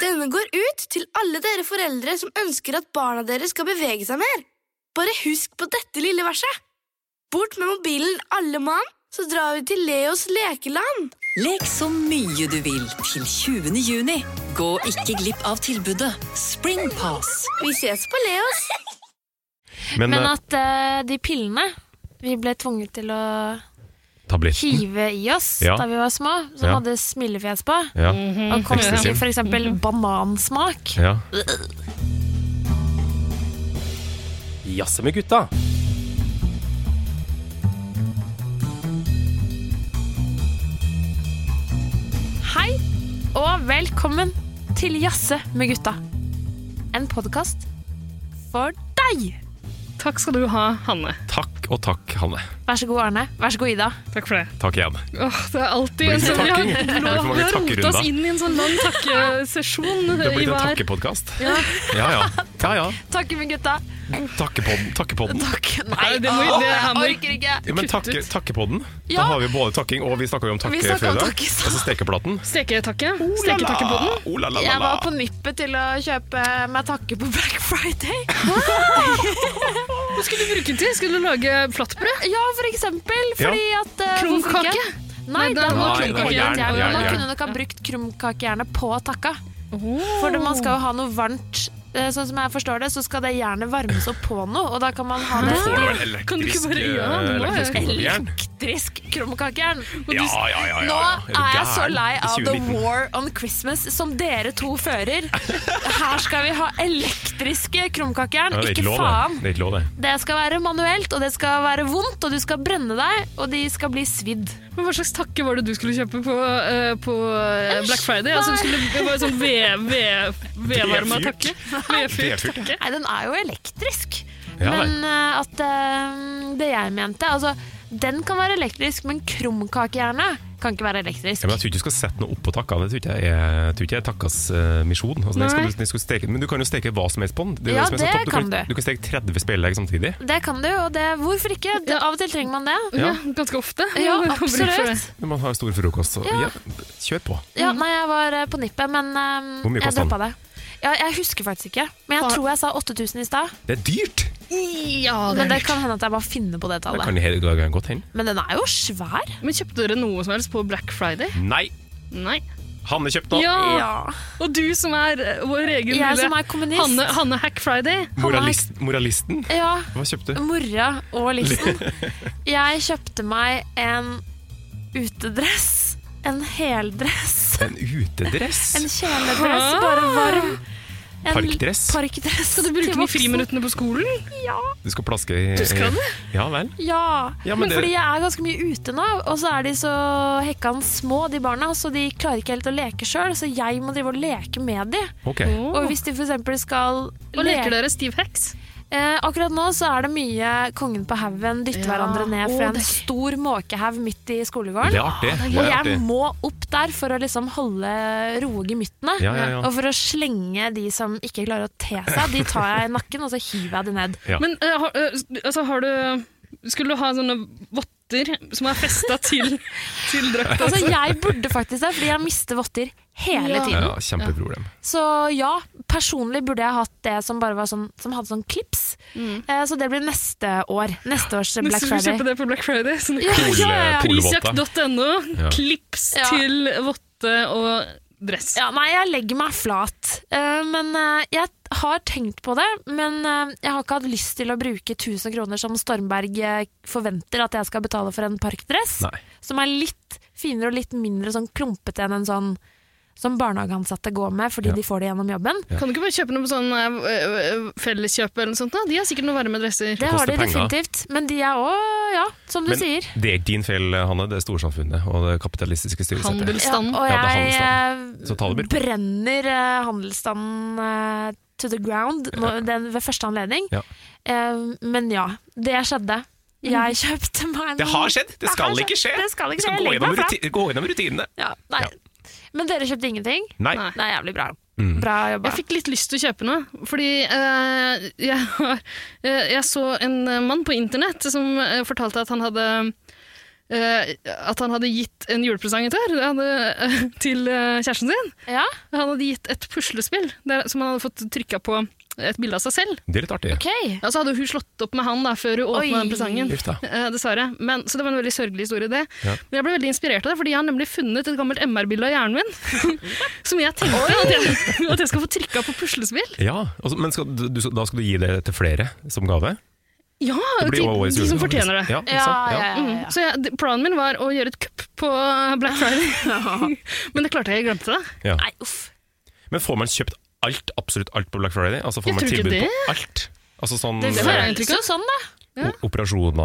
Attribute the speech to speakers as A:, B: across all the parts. A: Denne går ut til alle dere foreldre som ønsker at barna deres skal bevege seg mer. Bare husk på dette lille verset. Bort med mobilen, alle mann, så drar vi til Leos lekeland.
B: Lek så mye du vil til 20. juni. Gå ikke glipp av tilbudet Springpass.
A: Vi ses på Leos.
C: Men,
D: Men
C: eh,
D: at eh, de pillene vi ble tvunget til å
C: tabletten
D: hive i oss
C: Ja.
D: da vi var små, som
C: Ja.
D: hadde smilefjes på,
C: ja.
D: og kom
C: Ecstasy.
D: til for eksempel banansmak
C: ja.
E: Jazze med gutta.
D: Hei, og velkommen til Jasse med gutta. En podkast for deg.
F: Takk skal du ha, Hanne.
C: Takk og takk, Hanne.
D: Vær så god, Arne. Vær så god, Ida.
F: Takk for det.
C: Takk igjen.
F: Åh, det er alltid
C: Blir
F: en
C: det
F: sånn Vi har,
C: takking? Det blir for mange
F: vi har rotet
C: takkerunder.
F: oss inn i en sånn lang takkesesjon
C: Det har
F: i
C: blitt en
F: hver
C: takkepodkast. Ja. ja, ja. ja,
D: Takk med gutta.
C: Takkepodden. takkepodden.
D: Nei,
F: det må-
D: åh,
F: det her må-
D: jeg orker ikke.
C: Ja, men
F: Kutt
C: takke,
F: ut.
C: takkepodden.
D: Ja.
C: Da har vi både takking, og vi snakker jo om takke
D: Vi
C: før
D: snakker om
C: i dag.
D: takke i stad.
C: Og så stekeplaten.
F: steketakke. Steketakkepodden.
C: Ah, oh, la, la, la,
D: Jeg
C: la.
D: var på nippet til å kjøpe meg takke på Black Friday.
F: Hva skulle du bruke den til? Skulle du lage flatbrød?
D: Ja, for eksempel.
C: Ja.
D: Fordi at eh, hvorfor
F: Krumkake?
D: ikke? Nei,
F: Nei,
D: da
F: det
D: må
C: Nei, det
F: var
C: var
D: krumkakejernet.
C: jern, jern,
D: Man
C: jern.
D: kunne nok ha brukt krumkakejernet på takka.
F: Oh.
D: For det- man skal jo ha noe varmt. Eh, Sånn som jeg forstår det, så skal det jernet varmes opp på noe, og da kan man ha
C: Du
D: det
C: får du vel
F: Kan du ikke
C: elektrisk
F: bare gjøre
C: eh,
F: det nå?
C: elektrisk jern?
D: elektrisk krumkakejern.
C: Ja, ja, ja. ja,
D: Nå
C: ja. du
D: er jeg så
C: gæren?
D: lei
C: I
D: av The
C: 2019.
D: War on Christmas som dere to fører. Her skal vi ha elektriske krumkakejern.
C: Ja, det er
D: Ikke
C: ikke lov,
D: faen.
C: det. Det er ikke lov, det.
D: Det skal være manuelt, og det skal være vondt, og du skal brenne deg, og de skal bli svidd.
F: Men hva slags takke var det du skulle kjøpe på, eh, på eh, Black Friday? Altså, du skulle, det var en sånn ved- ved- vedvarma
C: Vedfyrt.
F: takke. Vedfyrt
C: Vedfyrt.
F: takke.
D: Nei, den er jo elektrisk.
C: Ja,
D: men eh, at eh, det jeg mente Altså, den kan være elektrisk, men krumkakehjerne kan ikke være elektrisk.
C: Ja, men jeg tror ikke du skal sette noe opp på takka. Det tror ikke jeg er, jeg tror ikke jeg er takkas eh, misjon. Altså, den
F: Nei.
C: skal du, den skal du steke, men du kan jo steke hva som helst på den. er
D: Ja,
C: som er så
D: det
C: topp.
D: kan
C: du.
D: du.
C: Kan, du kan steke 30 speilegg samtidig.
D: Det kan du, og det, hvorfor ikke? Det, av og til trenger man det.
F: Ja, ganske ofte.
D: Ja,
F: Man kommer inn for det.
D: absolutt.
C: Når man har stor frokost, så
D: Ja.
C: ja. kjør på.
D: Ja, nei, jeg var eh, på nippet, men eh,
C: Hvor mye
D: jeg
C: kostet den?
D: droppa det. Ja, jeg husker faktisk ikke, men jeg
F: Har-
D: tror jeg sa 8000 i stad.
C: Det er dyrt!
F: Ja, det
D: Men
F: er
D: det kan hende at jeg bare finner på det
C: Det
D: tallet.
C: kan i hele dagen godt hende.
D: Men den er jo svær.
F: Men kjøpte dere noe som helst på Black Friday?
C: Nei!
F: Nei.
C: Hanne kjøpte nå.
F: Ja, og du som er eh, vår egen
D: Jeg
F: lille
D: som er kommunist.
F: Hanne, Hanne Hack Friday.
C: Moralist, moralisten.
D: Ja,
C: Hva kjøpte du?
D: mora og listen. Jeg kjøpte meg en utedress. En heldress.
C: En utedress?
D: En kjeledress, bare varm. En
C: Parkdress?
D: Parkdress
F: Skal du bruke
D: til
F: den i
D: voksen.
F: friminuttene på skolen?
D: Ja.
C: Du skal plaske i Du
F: skal det?
C: Ja vel.
D: ja.
C: Ja, men
D: men
C: det-
D: fordi jeg er ganske mye ute nå, og så er de så hekkan små, de barna, så de klarer ikke helt å leke sjøl, så jeg må drive og leke med de.
C: Ok.
D: Og hvis de f.eks. skal
F: Og leker dere Steve Hex?
D: Eh, akkurat nå så er det mye Kongen på haugen dytter
F: Ja.
D: hverandre ned
F: Å,
D: fra en
F: det er gøy.
D: stor måkehaug midt i
C: Det
D: skolegården.
C: er artig.
D: Og
C: Det er
D: jeg
C: artig.
D: må opp der for å liksom holde roe gemyttene.
C: Ja, ja, ja.
D: Og for å slenge de som ikke klarer å te seg, de tar jeg i nakken og så hiver jeg de ned.
C: Ja.
F: Men eh, har, eh, altså, har du Skulle du ha sånne votter som er festa til, til drakta?
D: Altså, jeg burde faktisk det, fordi jeg mister votter hele
F: Ja.
D: tiden.
C: Ja, kjempeproblem.
D: Så ja, personlig burde jeg hatt det som bare var sånn, som hadde sånn klips.
F: Mm.
D: Eh, så det blir neste år. Neste års Black
F: Neste skal vi
D: Friday.
F: kjøpe det på Black Friday. Sånn
D: Ja,
C: Pole-
D: ja, ja.
C: polevotta.
F: Prisjakt.no.
C: Ja.
F: Klips
D: Ja.
F: til votte og dress.
D: Ja, nei, jeg legger meg flat. Eh, men eh, jeg har tenkt på det, men eh, jeg har ikke hatt lyst til å bruke 1000 kroner som Stormberg eh, forventer at jeg skal betale for en parkdress,
C: Nei.
D: som er litt finere og litt mindre sånn klumpete enn en sånn som barnehageansatte går med fordi
C: Ja.
D: de får det gjennom jobben.
F: Kan du ikke bare kjøpe noe på sånn eh, eh, felleskjøp eller noe sånt? Da? De har sikkert noen varme dresser.
D: Det har
C: koster
D: de
C: penger.
D: definitivt, men de er òg, ja, som du
C: Men
D: sier.
C: det er ikke din feil, Hanne. Det er storsamfunnet og det kapitalistiske styresettet.
D: Ja,
F: Handelsstand.
C: Ja,
D: og
C: det er
D: jeg
C: handelsstanden. Så ta det,
D: eh,
C: Birk.
D: brenner eh, handelsstanden eh, to the ground nå, den, ved første anledning.
C: Ja.
D: Eh, men ja, det skjedde. Jeg kjøpte meg en
C: Det har skjedd! Det
D: har
C: skal
D: skjedd.
C: ikke skje!
D: Det skal ikke
C: Du Gå
D: skje. Jeg legger
C: gjennom,
D: meg
C: ruti gå gjennom rutinene.
D: Ja, nei. Men dere kjøpte ingenting?
C: Nei.
F: Nei.
D: Nei, jævlig bra.
C: Mm.
D: Bra jobba.
F: Jeg fikk litt lyst til å kjøpe noe, fordi eh, jeg, har- eh, jeg så en eh, mann på internett som eh, fortalte at han hadde eh, at han hadde gitt en julepresang til, her, han hadde, til eh, kjæresten sin.
D: Ja,
F: Han hadde gitt et puslespill der, som han hadde fått trykka på et bilde av seg selv.
C: Det er litt artig.
D: ok.
F: Og så hadde hun slått opp med han da, før hun
D: Oi.
F: åpna den presangen.
C: Uff da.
F: Eh, dessverre. Men, så det var en veldig sørgelig historie, det.
C: Ja.
F: Men jeg ble veldig inspirert av det, fordi jeg har nemlig funnet et gammelt MR-bilde av hjernen min. som jeg tenkte at jeg, at jeg skal få trykka på puslespill.
C: Ja, og så- Men skal, du, du- da skal du gi det til flere som gave?
F: Ja,
C: Det blir
F: til
C: jo årets
F: de
C: julegave, liksom.
F: som fortjener det.
C: Ja, ikke
D: Ja,
C: sant?
D: ja,
C: ja.
D: ja,
F: Mm.
D: ja.
F: Så jeg, d- planen min var å gjøre et kupp på Black Friday. Men det klarte jeg, jeg glemte det.
D: Nei, uff.
C: Men får man kjøpt alt, absolutt alt på Black Friday? Altså Får
F: Jeg
C: man
F: tror ikke
C: tilbud
F: det.
C: på alt? Altså sånn
D: Det
F: Det var
D: føles
F: egentlig ikke-
D: jo sånn, da.
C: eh, o- operasjoner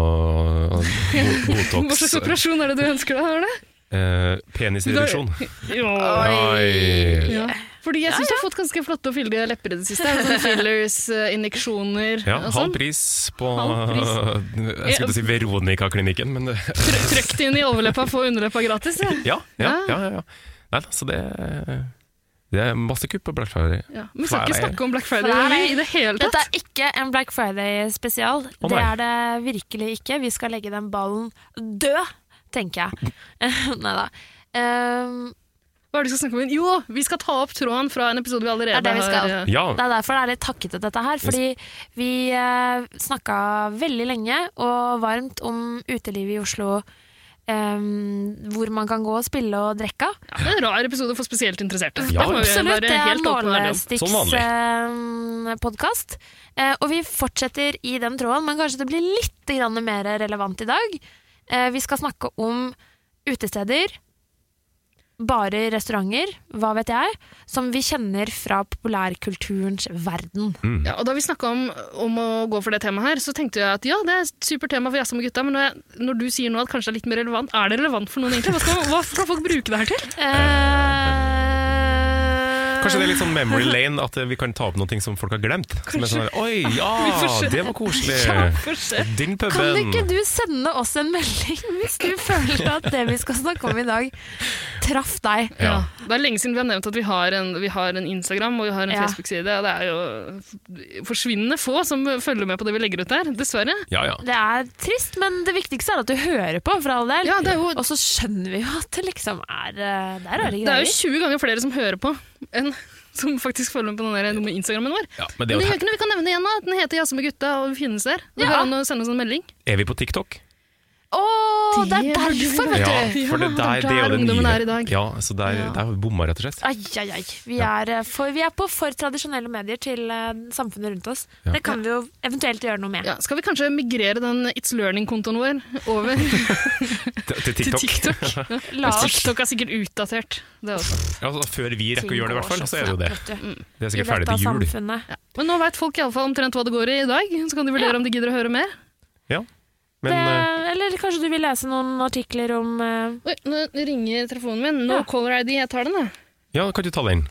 C: og og bo-
F: Hva
C: Botox.
F: slags operasjon er det du ønsker deg? Arne?
C: eh, penisreduksjon.
F: Ja.
C: Oi.
F: Ja. Fordi jeg syns du har fått ganske flotte og fyldige lepper i det siste. Sånn fillers, eh, injeksjoner
C: Ja,
F: og
C: halv
F: sånn.
C: pris på
F: Halv
C: Jeg skulle til å si Veronica-klinikken, men det-
F: Trø- Trøkk det inn i overleppa, få underleppa gratis. Ja.
C: Ja, ja, ja. ja, ja. Nei, altså det, det er masse kupp på Black Friday.
F: Ja, men vi skal ikke
C: Friday.
F: snakke om Black Friday
D: Friday.
F: Nelly, i det hele
D: Dette
F: tatt.
D: er ikke en Black Friday-spesial.
C: Å,
D: det
C: nei.
D: er det virkelig ikke. Vi skal legge den ballen død, tenker jeg. nei da. Um,
F: Hva er det vi skal snakke om? Jo, vi skal ta opp tråden fra en episode vi allerede
D: Det er det vi skal.
F: har eh,
C: Ja,
D: det er derfor det er litt hakkete, dette her. Fordi vi uh, snakka veldig lenge og varmt om utelivet i Oslo. um, hvor man kan gå og spille og drikke.
F: ja, Det er en rar episode for spesielt interesserte.
C: Ja,
F: Det må vi
D: Absolutt.
F: være
D: Det er
F: helt åpne og ærlige om.
C: Som vanlig.
D: Nålesticks-podkast. Eh, og vi fortsetter i den tråden, men kanskje det blir litt grann mer relevant i dag. Eh, vi skal snakke om utesteder, barer, restauranter, hva vet jeg, som vi kjenner fra populærkulturens verden.
F: Ja, og da vi snakka om, om å gå for det temaet her, så tenkte jeg at ja, det er et supert tema for jazz med gutta, men når, jeg, når du sier nå at kanskje det er litt mer relevant, er det relevant for noen egentlig? Hva skal, hva skal folk bruke det her til?
D: Eh,
C: Kanskje det er litt sånn memory lane, at eh, vi kan ta opp noen ting som folk har glemt. Som er sånn, her, Oi, ja, det var koselig! Den
D: Kan ikke
C: puben!
D: du sende oss en melding hvis du føler at det vi skal snakke om i dag, traff deg?
C: Ja.
F: Det er lenge siden vi har nevnt at vi har en, vi har en Instagram og vi har en
D: Ja.
F: Facebook-side. og Det er jo forsvinnende få som følger med på det vi legger ut der, dessverre.
C: Ja, ja.
D: Det er trist, men det viktigste er at du hører på, for all del.
F: Ja, det er jo
D: Og så skjønner vi jo at det liksom er eh, Det er rare
F: Det er
D: greier.
F: jo 20 ganger flere som hører på enn som faktisk følger med på den der dumme Instagrammen vår.
C: ja men det
F: Men
C: er,
F: det
C: jo
F: gjør ikke noe, vi kan nevne det igjen da, at den heter Jazz med gutta og finnes der. Det
D: Ja.
F: går an å sende oss en melding.
C: her- er vi på TikTok?
D: Å, det er
F: Det burde vi
D: derfor, vet
C: Ja,
D: du!
C: for det
F: Ja,
C: der,
F: det er
C: det er jo
F: der
C: det
F: ungdommen
C: nye.
F: er i dag.
C: Ja, så der, der bomma, rett og slett.
D: Ai, ai, ai. Vi er, eh, for, vi er på for tradisjonelle medier til eh, samfunnet rundt oss.
C: Ja.
D: Det kan vi jo eventuelt gjøre noe med.
F: Ja, skal vi kanskje migrere den It's Learning-kontoen vår over
C: Til til
F: til
C: TikTok.
F: TikTok?
D: La oss
F: TikTok er sikkert utdatert. Det også.
C: Altså, før vi rekker å gjøre det, i hvert fall, så er det jo det.
D: Vet du,
C: Det er
D: I
C: sikkert
D: løpet
C: ferdig
D: av
C: til jul.
D: samfunnet.
F: Men nå veit folk iallfall omtrent hva det går i i dag, så kan de vurdere om de gidder å høre mer.
C: Ja.
D: Det,
C: Men eh,
D: eller kanskje du vil lese noen artikler om eh,
F: Oi, nå ringer telefonen min.
D: Ja.
F: No caller ID, jeg tar den, jeg.
C: ja, kan ikke du ta den?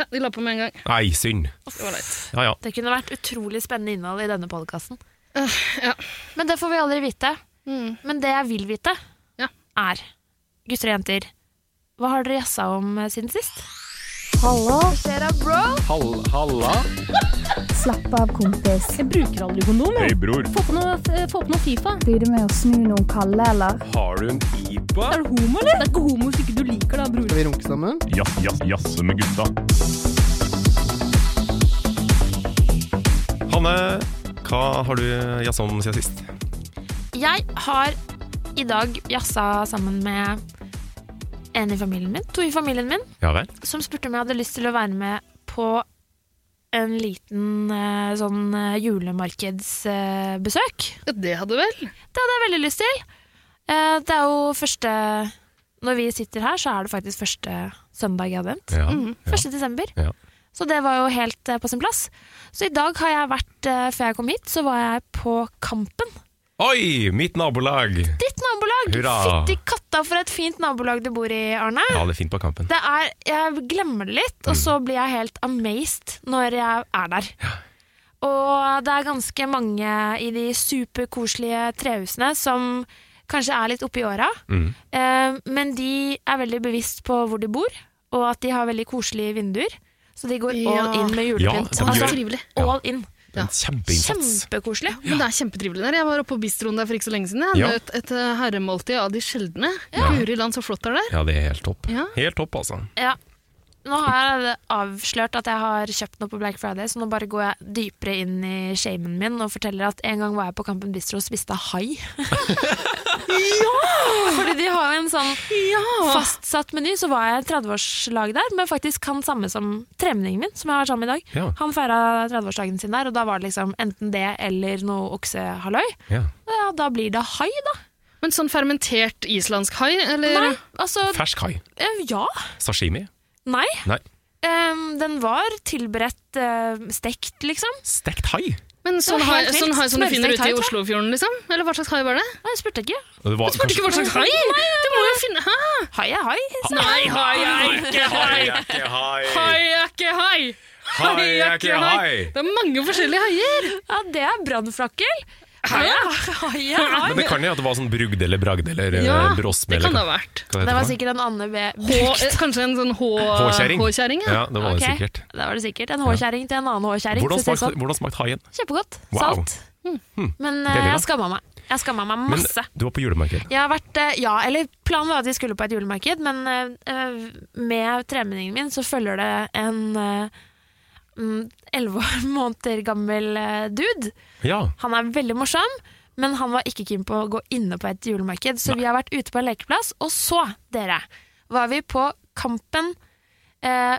F: Ja, de la på med en gang.
C: Nei, synd.
F: Det var leit.
C: Ja, ja.
D: Det kunne vært utrolig spennende innhold i denne podkasten.
F: Øh, ja.
D: Men det får vi aldri vite.
F: Mm.
D: Men det jeg vil vite,
F: Ja.
D: er Gutter og jenter, hva har dere jazza om eh, siden sist?
G: Slapp av, kompis.
H: Hei, bror.
F: eh,
G: Blir du med å snu noen kalde, eller?
H: Har du en pipa?
I: Skal vi runke sammen?
H: Ja, ja, jasse med gutta.
C: Hanne, hva har du jazza om siden sist?
D: Jeg har i dag jazza sammen med en i familien min, to i familien min,
C: Ja vel?
D: som spurte om jeg hadde lyst til å være med på en liten eh, sånn eh, julemarkedsbesøk.
F: Ja, det hadde vel.
D: Det hadde jeg veldig lyst til. Eh, Det er jo første Når vi sitter her, så er det faktisk første søndag i advent.
C: Ja.
F: Mhm.
D: 1. desember.
C: Ja.
D: Så det var jo helt eh, på sin plass. Så i dag har jeg vært, eh, før jeg kom hit, så var jeg på Kampen.
C: Oi, mitt nabolag!
D: Ditt nabolag!
C: Hurra!
D: Fytti katta for et fint nabolag du bor i, Arne.
C: Ja, det er fint på kampen.
D: Det er, jeg glemmer det litt,
C: Mm.
D: og så blir jeg helt amazed når jeg er der. Og det er ganske mange i de superkoselige trehusene som kanskje er litt oppi åra,
C: Mm.
D: eh, men de er veldig bevisst på hvor de bor, og at de har veldig koselige vinduer. Så de går all
F: Ja.
D: in med
C: Ja,
D: julepynt.
C: de gjør-
F: Trivelig.
C: Ja.
D: all in.
F: Ja.
C: En kjempeinnsats.
D: Kjempekoselig.
F: Men det er kjempetrivelig der. Jeg var oppe på bistroen der for ikke så lenge siden. Jeg
C: Ja.
F: hadde et, et eh, herremåltid av de sjeldne. Guri land, så flott det er der.
C: Ja, det er helt topp.
F: Ja.
C: Helt topp, altså.
D: Ja. Nå har jeg avslørt at jeg har kjøpt noe på Black Friday, så nå bare går jeg dypere inn i shamen min og forteller at en gang var jeg på Kampen Bistro og spiste hai. ja! Fordi de har jo en sånn fastsatt meny. Så var jeg i 30-årslag der med faktisk han samme som tremenningen min, som jeg var sammen med i dag.
C: Ja.
D: Han feira 30-årsdagen sin der, og da var det liksom enten det eller noe oksehalløy.
C: Ja.
D: Ja, da blir det hai, da.
F: Men sånn fermentert islandsk hai, eller?
D: Nei, altså
C: Fersk hai.
D: eh, Ja.
C: Sashimi.
D: Nei.
C: Nei,
D: Em, Ehm, den var tilberedt eh, stekt, liksom.
C: stekt hai.
F: Men sånn
D: Det var
F: hai,
D: helt
F: sånn
D: vilt.
F: hai som du
D: Smørstekt
F: finner ute
D: hai,
F: i
D: tror jeg.
F: Oslofjorden, liksom? Eller hva slags hai var det?
D: Nei, jeg spurte ikke.
C: Det var
F: Spurte ikke hva slags hai! Du må jo finne Hæ?
D: Hai er hai. sier jeg.
F: Nei, hai er ikke hai!
C: ikke hai.
F: Hai er ikke hai!
C: Hai er ikke hai.
F: Det er mange forskjellige haier!
D: Ja, det er brannfakkel. Hai er hai. er hai.
C: Men det kan jo at det var sånn brugd eller bragd eller ja,
F: Ja,
C: brosme.
F: det kan det
C: eller
F: ha
C: hva- hva
F: vært.
C: heter
D: Det var
C: for noe?
D: sikkert en Anne B.
F: H, eh, kanskje en sånn
C: Håkjerring.
F: H-kjerring?
C: Ja, det var det
D: Ok,
C: sikkert.
D: Da var det sikkert en håkjerring til en annen håkjerring.
C: Hvordan
D: så det er
C: smakte, hvordan smakte haien?
D: sånn Kjempegodt.
C: Wow.
D: Salt.
C: Deilig,
D: Men eh,
C: da.
D: jeg skamma meg. Jeg skamma meg
C: Men
D: masse.
C: du var på julemarked.
D: Jeg har vært, eh, ja, eller Planen var at vi skulle på et julemarked, men eh, eh, med tremenningen min så følger det en eh, mm, elleve måneder gammel eh, dude.
C: Ja.
D: Han er veldig morsom, men han var ikke keen på å gå inne på et julemarked. Så vi har vært ute på en lekeplass, og så, dere, var vi på Kampen eh,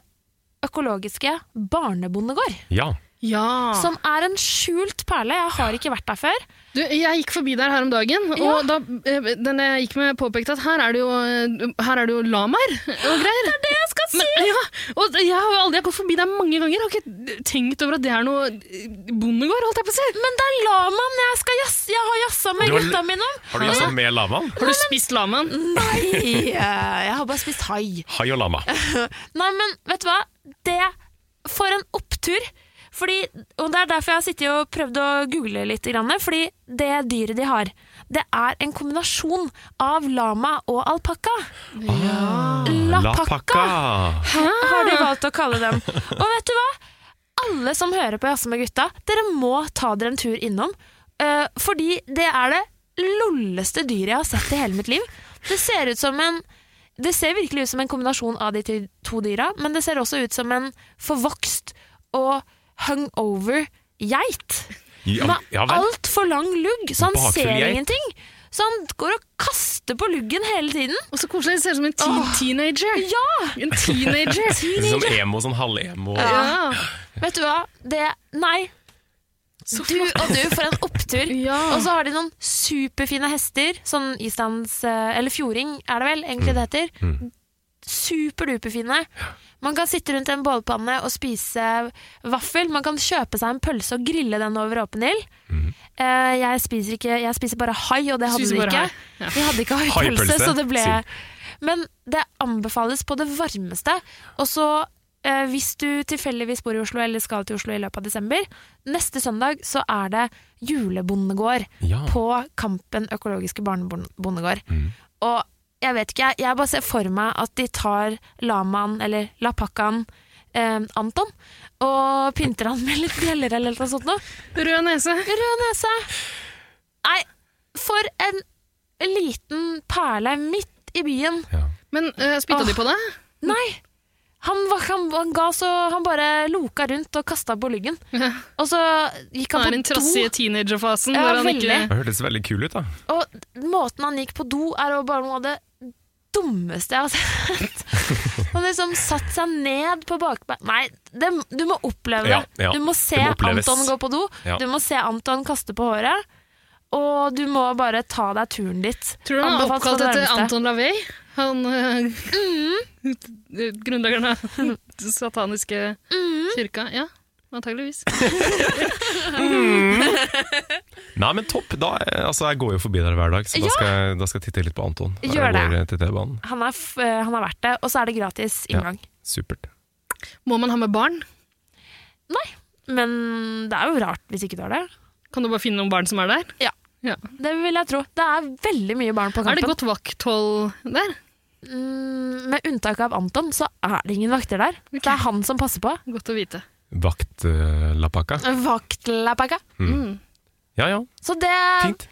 D: økologiske barnebondegård.
C: ja.
F: Ja.
D: Som er en skjult perle. Jeg har ikke vært der før.
F: Du, jeg gikk forbi der her om dagen,
D: Ja.
F: og da eh, den jeg gikk med påpekte at her er det jo, eh, her er det jo lamaer og greier. Det er det jeg skal si! Men, ja, og jeg har jo aldri jeg har gått forbi der mange ganger. Jeg har ikke tenkt over at det er noe eh, bondegård, holdt jeg på å si.
D: Men det er lamaen jeg skal jazz- Jeg har jazza med
C: Du har-
D: gutta mine om.
C: Har du jazza med lamaen?
F: Har du spist lamaen?
D: Nei, eh, jeg har bare spist hai.
C: Hai og lama.
D: Nei, men vet du hva? Det For en opptur! Fordi, og Det er derfor jeg har sittet og prøvd å google litt. grann, Fordi det dyret de har, det er en kombinasjon av lama og alpakka. Lapakka har de valgt å kalle dem. Og vet du hva? Alle som hører på Jazze med gutta, dere må ta dere en tur innom. eh, fordi det er det lolleste dyret jeg har sett i hele mitt liv. Det ser ut som en det ser virkelig ut som en kombinasjon av de ty- to dyra, men det ser også ut som en forvokst og hungover geit.
C: Ja,
D: Med
C: ja vel.
D: altfor lang lugg, så han
C: Bakfull
D: ser
C: geit.
D: ingenting. Så han går og kaster på luggen hele tiden.
F: Og så koselig, det ser ut som en teen teenager.
D: Ja!
F: En teenager.
C: Sånn emo, sånn halvemo.
F: ja.
D: Vet du hva? Det Nei. Du og du, for en opptur.
F: Ja.
D: Og så har de noen superfine hester. Sånn islands... eh, Eller fjording, er det vel egentlig det heter. Superduperfine. Man kan sitte rundt en bålpanne og spise vaffel. Man kan kjøpe seg en pølse og grille den over åpen ild. Eh, Jeg spiser, ikke, jeg spiser bare hai, og det hadde
F: Spiser
D: vi
F: bare
D: ikke.
F: hai, ja.
D: Vi hadde ikke haipølse,
C: Haipølse,
D: så det ble
C: sier.
D: Men det anbefales på det varmeste. Og så, eh, hvis du tilfeldigvis bor i Oslo eller skal til Oslo i løpet av desember, neste søndag så er det julebondegård
C: Ja.
D: på Kampen økologiske barnebondegård. Og jeg vet ikke, jeg- jeg bare ser for meg at de tar lamaen, eller lapakkaen, eh, Anton, og pynter han med litt bjeller eller noe sånt noe.
F: Rød nese.
D: Rød nese. Nei, for en liten perle midt i byen.
F: Men uh, spytta
D: Åh.
F: de på det?
D: Nei! Han, var, han, han, ga så, han bare loka rundt og kasta på lyggen.
F: Ja.
D: Og så gikk
F: Han er i
D: han
F: den
D: på
F: trassige
D: do,
F: teenagerfasen.
D: Ja,
F: hvor han ikke...
D: veldig.
C: Det hørtes veldig kul ut, da.
D: og måten han gikk på do, er jo bare noe av det dummeste jeg har sett. Han liksom satte seg ned på bakbeina Nei, det, du må oppleve det.
C: Ja, ja.
D: Du må se
C: Det må oppleves.
D: Anton gå på do,
C: Ja.
D: du må se Anton kaste på håret, og du må bare ta deg turen dit.
F: Tror du han er
D: Anbefales på
F: oppkalt
D: det Mm.
F: etter
D: varmeste.
F: Anton Lavey? Han eh, Grunnleggeren av
D: Mm.
F: den sataniske kirka? Ja, antageligvis.
C: Nei, men topp. Da, eh, altså, jeg går jo forbi der hver dag, så da, skal jeg, da skal jeg titte litt på Anton. når
D: Gjør
C: jeg
D: det.
C: Går til T-banen.
D: Han er, f eh, han er verdt det, og så er det gratis inngang.
C: Supert.
F: Må man ha med barn?
D: Nei, men det er jo rart hvis ikke du har det.
F: Kan du bare finne noen barn som er der?
D: Ja.
F: Ja.
D: Det vil jeg tro. Det er veldig mye barn på
F: Er det
D: kampen.
F: godt vakthold der?
D: Mm, med unntak av Anton, så er det ingen vakter der. Det er han som passer på.
F: Godt å vite.
C: Vaktlapakka.
D: Vaktlapakka.
C: eh,
F: Mm.
C: Ja ja,
D: Så det,
C: fint.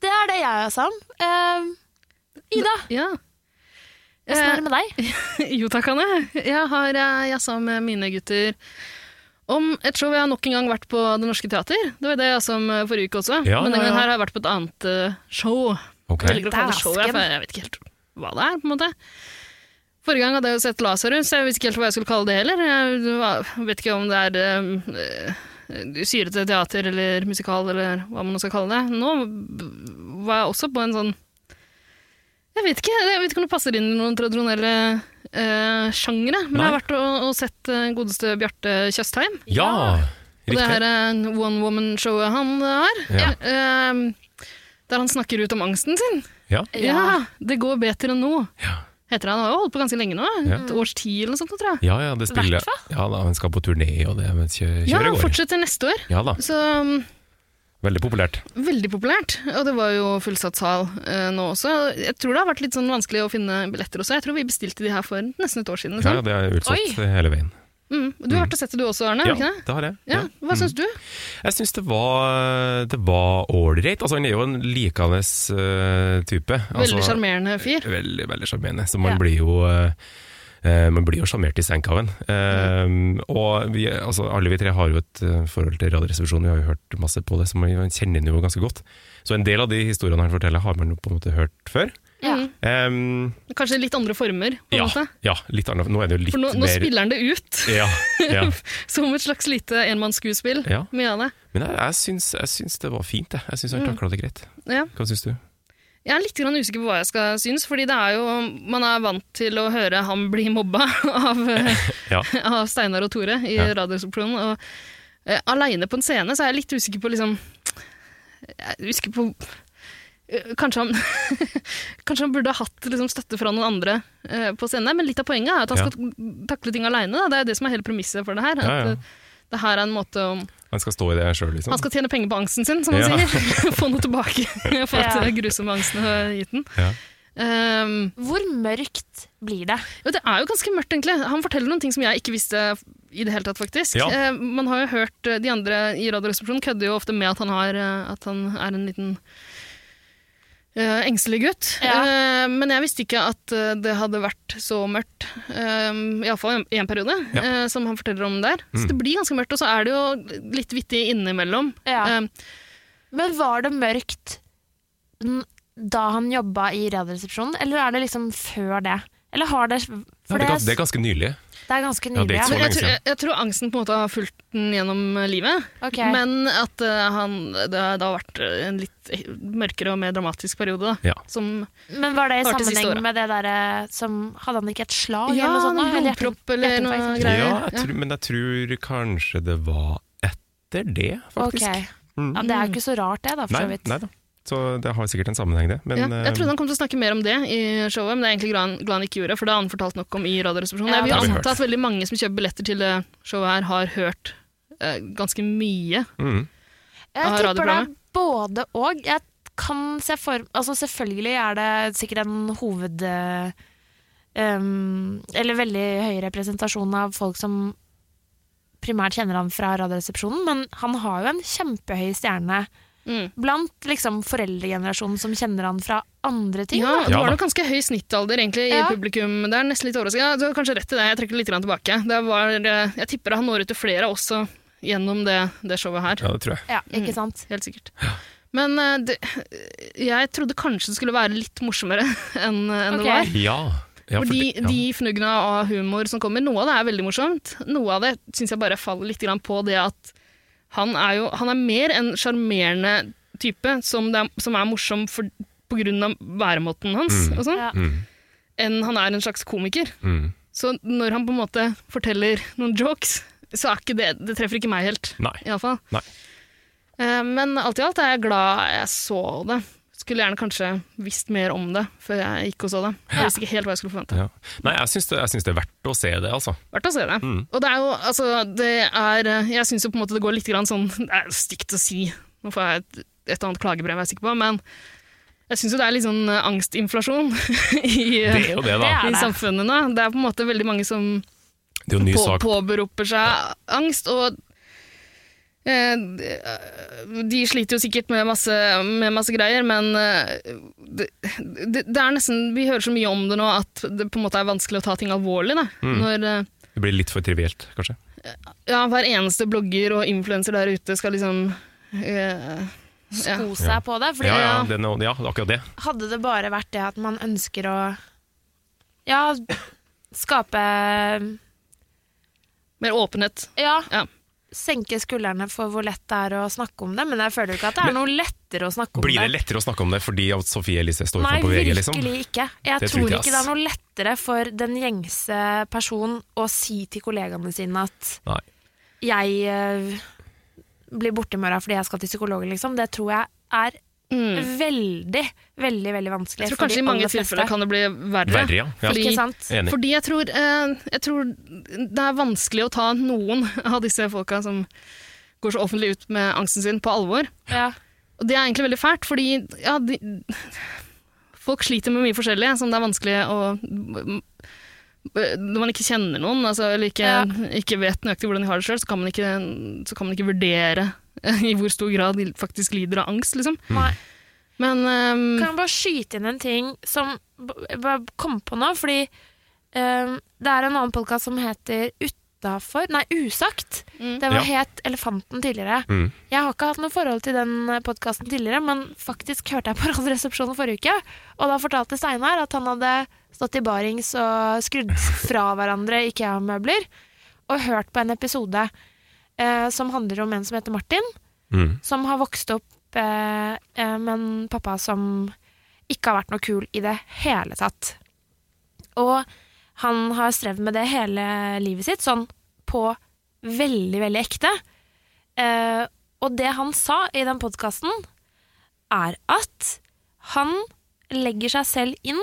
D: det er det jeg sa om. Eh, Ida,
F: Ja. eh,
D: åssen er det med deg?
F: Jo takk, Anne. Jeg har eh, jazza med mine gutter om et show jeg har nok en gang vært på Det Norske Teater. Det var det jeg jazza om eh, forrige uke også,
C: Ja,
F: men den
C: ja, ja.
F: gangen her har jeg vært på et annet eh, show.
C: Ok.
F: Jeg liker å kalle det
D: Dæsken.
F: show, jeg, for jeg vet ikke helt hva det er, på en måte. Forrige gang hadde jeg jo sett Lasarus, jeg visste ikke helt hva jeg skulle kalle det heller. Jeg var- vet ikke om det er eh, eh, syrete teater eller musikal eller hva man nå skal kalle det. Nå b- var jeg også på en sånn Jeg vet ikke, jeg vet ikke om det passer inn i noen tradisjonelle eh, sjangere, men jeg har
C: Nei.
F: vært og, og sett eh, godeste Bjarte Tjøstheim.
C: Ja!
F: Og det her
C: Riktig.
F: eh, one woman-showet han eh, har.
C: Ja.
F: eh, der han snakker ut om angsten sin.
C: Ja.
F: Ja, det går bedre nå.
C: Ja.
F: Heter han. han har jo holdt på ganske lenge nå.
C: Ja.
F: Et års tid eller noe sånt, tror jeg.
C: Ja ja, det spiller Ja da, han skal på turné og det, men kjø-
F: Ja,
C: kjøret
F: han
C: går.
F: fortsetter neste år.
C: Ja da,
F: Så um,
C: veldig populært.
F: veldig populært. Og det var jo fullsatt sal eh, nå også. Jeg tror det har vært litt sånn vanskelig å finne billetter også. Jeg tror vi bestilte de her for nesten et år siden.
C: Ja,
F: Liksom.
C: ja, det er utsolgt eh, hele veien.
F: Mm. Du har vært og sett det du også, Arne?
C: Ja,
F: har du ikke det?
C: det har jeg.
F: Ja, Hva
C: Mm.
F: syns du?
C: Jeg syns det var Det var ålreit. Altså, han er jo en likende eh, type.
F: Veldig
C: altså,
F: sjarmerende fyr.
C: Veldig, veldig sjarmerende. Så man blir jo eh, eh, man blir jo sjarmert i senk av en. Eh,
F: Mm.
C: Og vi, altså, alle vi tre har jo et eh, forhold til Radioresepsjonen, vi har jo hørt masse på det, så man man kjenner den jo ganske godt. Så en del av de historiene han forteller, har man jo på en måte hørt før.
D: Ja.
F: Mm.
C: Em,
F: Kanskje litt andre former, på en
C: ja,
F: måte.
C: ja, litt annet. Nå er det jo litt
F: For nå, nå
C: mer
F: spiller han det ut,
C: ja, ja.
F: som et slags lite enmannsskuespill.
C: Ja.
F: Mye av det.
C: Men jeg, jeg, syns, jeg syns det var fint, jeg. Jeg syns han takla det greit.
F: Mm. Ja.
C: Hva syns du?
F: Jeg er litt grann usikker på hva jeg skal synes, fordi det er jo, man er vant til å høre han bli mobba av, eh,
C: Ja.
F: av Steinar og Tore i
C: Ja.
F: Radioresepsjonen. Og eh, aleine på en scene så er jeg litt usikker på liksom Jeg er usikker på eh, Kanskje han, kanskje han burde ha hatt liksom, støtte fra noen andre eh, på scenen, men litt av poenget er at
C: Ja.
F: han skal takle ting aleine. Det er jo det som er hele premisset for det her.
C: Ja, ja.
F: At, eh, det her er en måte å
C: Han skal stå i det sjøl, liksom?
F: han skal tjene penger på angsten sin, som han
C: Ja.
F: sier. Få noe tilbake for at
D: Ja.
F: den grusomme angsten har gitt den.
C: Ja.
F: Ehm,
D: Hvor mørkt blir det?
F: jo, det er jo ganske mørkt, egentlig. Han forteller noen ting som jeg ikke visste i det hele tatt, faktisk.
C: Ja.
F: Eh, man har jo hørt eh, De andre i Radioresepsjonen kødder jo ofte med at han, har, eh, at han er en liten eh, engstelig gutt. Eh, men jeg visste ikke at eh, det hadde vært så mørkt. Um, Iallfall i en periode,
C: Ja.
F: eh, som han forteller om der.
C: Mm.
F: Så det blir ganske mørkt, og så er det jo litt vittig innimellom.
D: Ja.
F: Ehm,
D: Eh, Men var det mørkt n- da han jobba i Radioresepsjonen, eller er det liksom før det? Eller har det
C: Ja,
D: For
C: det, er,
D: det
C: gans- det er
D: er,
C: ganske nylig.
D: det er ganske
C: Ja, det er ikke
D: nylig. Ja,
C: så
F: Men
C: lenge
F: jeg, tror,
C: siden.
F: jeg, jeg tror angsten på en måte har fulgt den gjennom eh, livet,
D: Ok.
F: men at eh, han, det, har- det har vært eh, en litt eh, mørkere og mer dramatisk periode. Da,
C: Ja.
F: som
D: Men var det i
F: Hørte siste året.
D: sammenheng med det derre som Hadde han ikke et slag
F: ja,
D: eller noe
F: noe
D: sånt? da? Eller hjerte-
F: blodpropp eller noe
D: hjerteinfarkt.
C: Ja,
F: greier.
C: jeg tror, men jeg tror kanskje det var etter det, faktisk.
D: Ok.
C: Mm.
D: Ja, det er jo ikke så rart det, da, for
C: Nei,
D: så vidt.
C: nei da. Så det har sikkert en sammenheng, det. Men
F: Ja, jeg trodde
C: eh,
F: han kom til å snakke mer om det i showet, men det er egentlig glad, han- glad han ikke gjorde, for det har han fortalt nok om i Radioresepsjonen.
D: Ja,
F: jeg vil
C: det har vi
F: jo
C: hørt.
F: anta at veldig mange som kjøper billetter til det showet her, har hørt eh, ganske mye.
C: mm.
D: Jeg tipper
F: av
D: det er
F: radioprogrammet?
D: både og. Jeg kan se for Altså, selvfølgelig er det sikkert en hoved... eh, Um, eller veldig høy representasjon av folk som primært kjenner han fra Radioresepsjonen, men han har jo en kjempehøy stjerne
F: Mm.
D: blant liksom foreldregenerasjonen som kjenner han fra andre ting.
F: Ja,
D: da.
F: det
C: Ja
F: var
C: da.
F: nok ganske høy snittalder egentlig i
D: Ja.
F: publikum. Det er nesten litt overraskende. Ja, du har kanskje rett i det, jeg trekker det litt grann tilbake. Det var, eh, jeg tipper han når ut til flere også gjennom det, det showet her.
C: ja, det tror jeg.
D: Ja,
F: Mm.
D: ikke sant?
F: Helt sikkert. Men eh, det, jeg trodde kanskje det skulle være litt morsommere enn enn
D: Ok.
F: det var.
C: Ja. ja
F: Fordi
C: det- ja.
F: de fnugna av humor som kommer, noe av det er veldig morsomt. Noe av det syns jeg bare faller litt grann på det at han er jo Han er mer en sjarmerende type som, det er, som er morsom for, på grunn av væremåten hans og sånn,
D: Ja.
C: Mm.
F: enn han er en slags komiker.
C: Mm.
F: Så når han på en måte forteller noen jokes, så er ikke det Det treffer ikke meg helt,
C: Nei.
F: iallfall.
C: Nei.
F: Eh, men alt i alt er jeg glad jeg så det. Skulle gjerne kanskje visst mer om det før jeg gikk og så det. Jeg visste ikke helt hva jeg skulle forvente.
C: Ja. Nei, jeg syns det, jeg syns det er verdt å se det, altså.
F: Verdt å se det.
C: Mm.
F: Og det er jo, altså, det er Jeg syns jo på en måte det går litt grann sånn Det er stygt å si. Nå får jeg et, et annet klagebrev, jeg er sikker på, men jeg syns jo det er litt sånn eh, angstinflasjon i,
C: Det er jo det, da.
D: Det er
F: i samfunnet nå. Det er på en måte veldig mange som
C: Det er jo en ny
F: på,
C: sak.
F: påberoper seg angst, og eh, de- eh, de sliter jo sikkert med masse, med masse greier, men eh, det, det, det er nesten Vi hører så mye om det nå at det på en måte er vanskelig å ta ting alvorlig. Da.
C: Mm.
F: Når eh,
C: Det blir litt for trivielt, kanskje.
F: ja, hver eneste blogger og influenser der ute skal liksom eh, ja.
D: sko seg på det. Fordi
C: Ja, ja, den, er- ja, akkurat det.
D: hadde det bare vært det at man ønsker å ja, skape
F: Mer åpenhet.
D: ja,
F: Ja.
D: senke skuldrene for hvor lett det er å snakke om det, men jeg føler jo ikke at det er noe lettere å snakke om
C: Blir det lettere å snakke om det fordi at Sofie Elise står
D: Nei,
C: foran på VG,
D: virkelig
C: liksom?
D: ikke. Jeg
C: Det tror
D: tror
C: ikke jeg,
D: ikke det
C: ass.
D: er noe lettere for den gjengse person å si til kollegaene sine at
C: Nei.
D: jeg eh, blir borte i morgen fordi jeg skal til psykologen, liksom. Det tror jeg er veldig, veldig veldig vanskelig.
F: Mm. Jeg tror
D: for de
F: kanskje i mange
D: aller fleste.
F: tilfeller kan det bli verre.
C: Verre, ja. ja.
F: Fordi-
D: Ikke sant?
C: Enig.
F: Fordi jeg tror, eh, jeg tror det er vanskelig å ta noen av disse folka som går så offentlig ut med angsten sin, på alvor.
D: Ja.
F: Og det er egentlig veldig fælt, fordi ja, de, folk sliter med mye forskjellig som det er vanskelig å Når man ikke kjenner noen, altså, eller ikke,
D: Ja.
F: ikke vet nøyaktig hvordan de har det sjøl, så, kan man ikke- så kan man ikke vurdere i hvor stor grad de faktisk lider av angst, liksom.
D: Nei.
F: Men ehm,
D: Kan jeg bare skyte inn en ting som b- jeg bare kom på nå? Fordi eh, det er en annen podkast som heter Utafor Nei, Usagt. Det var het Elefanten tidligere.
C: Mm.
D: Jeg har ikke hatt noe forhold til den podkasten tidligere, men faktisk hørte jeg på Radioresepsjonen forrige uke, og da fortalte Steinar at han hadde stått i barings og skrudd fra hverandre Ikea-møbler, og hørt på en episode eh, som handler om en som heter Martin
C: Mm.
D: som har vokst opp eh, eh, med en pappa som ikke har vært noe kul i det hele tatt. Og han har strevd med det hele livet sitt, sånn på veldig, veldig ekte. Eh, og det han sa i den podkasten, er at han legger seg selv inn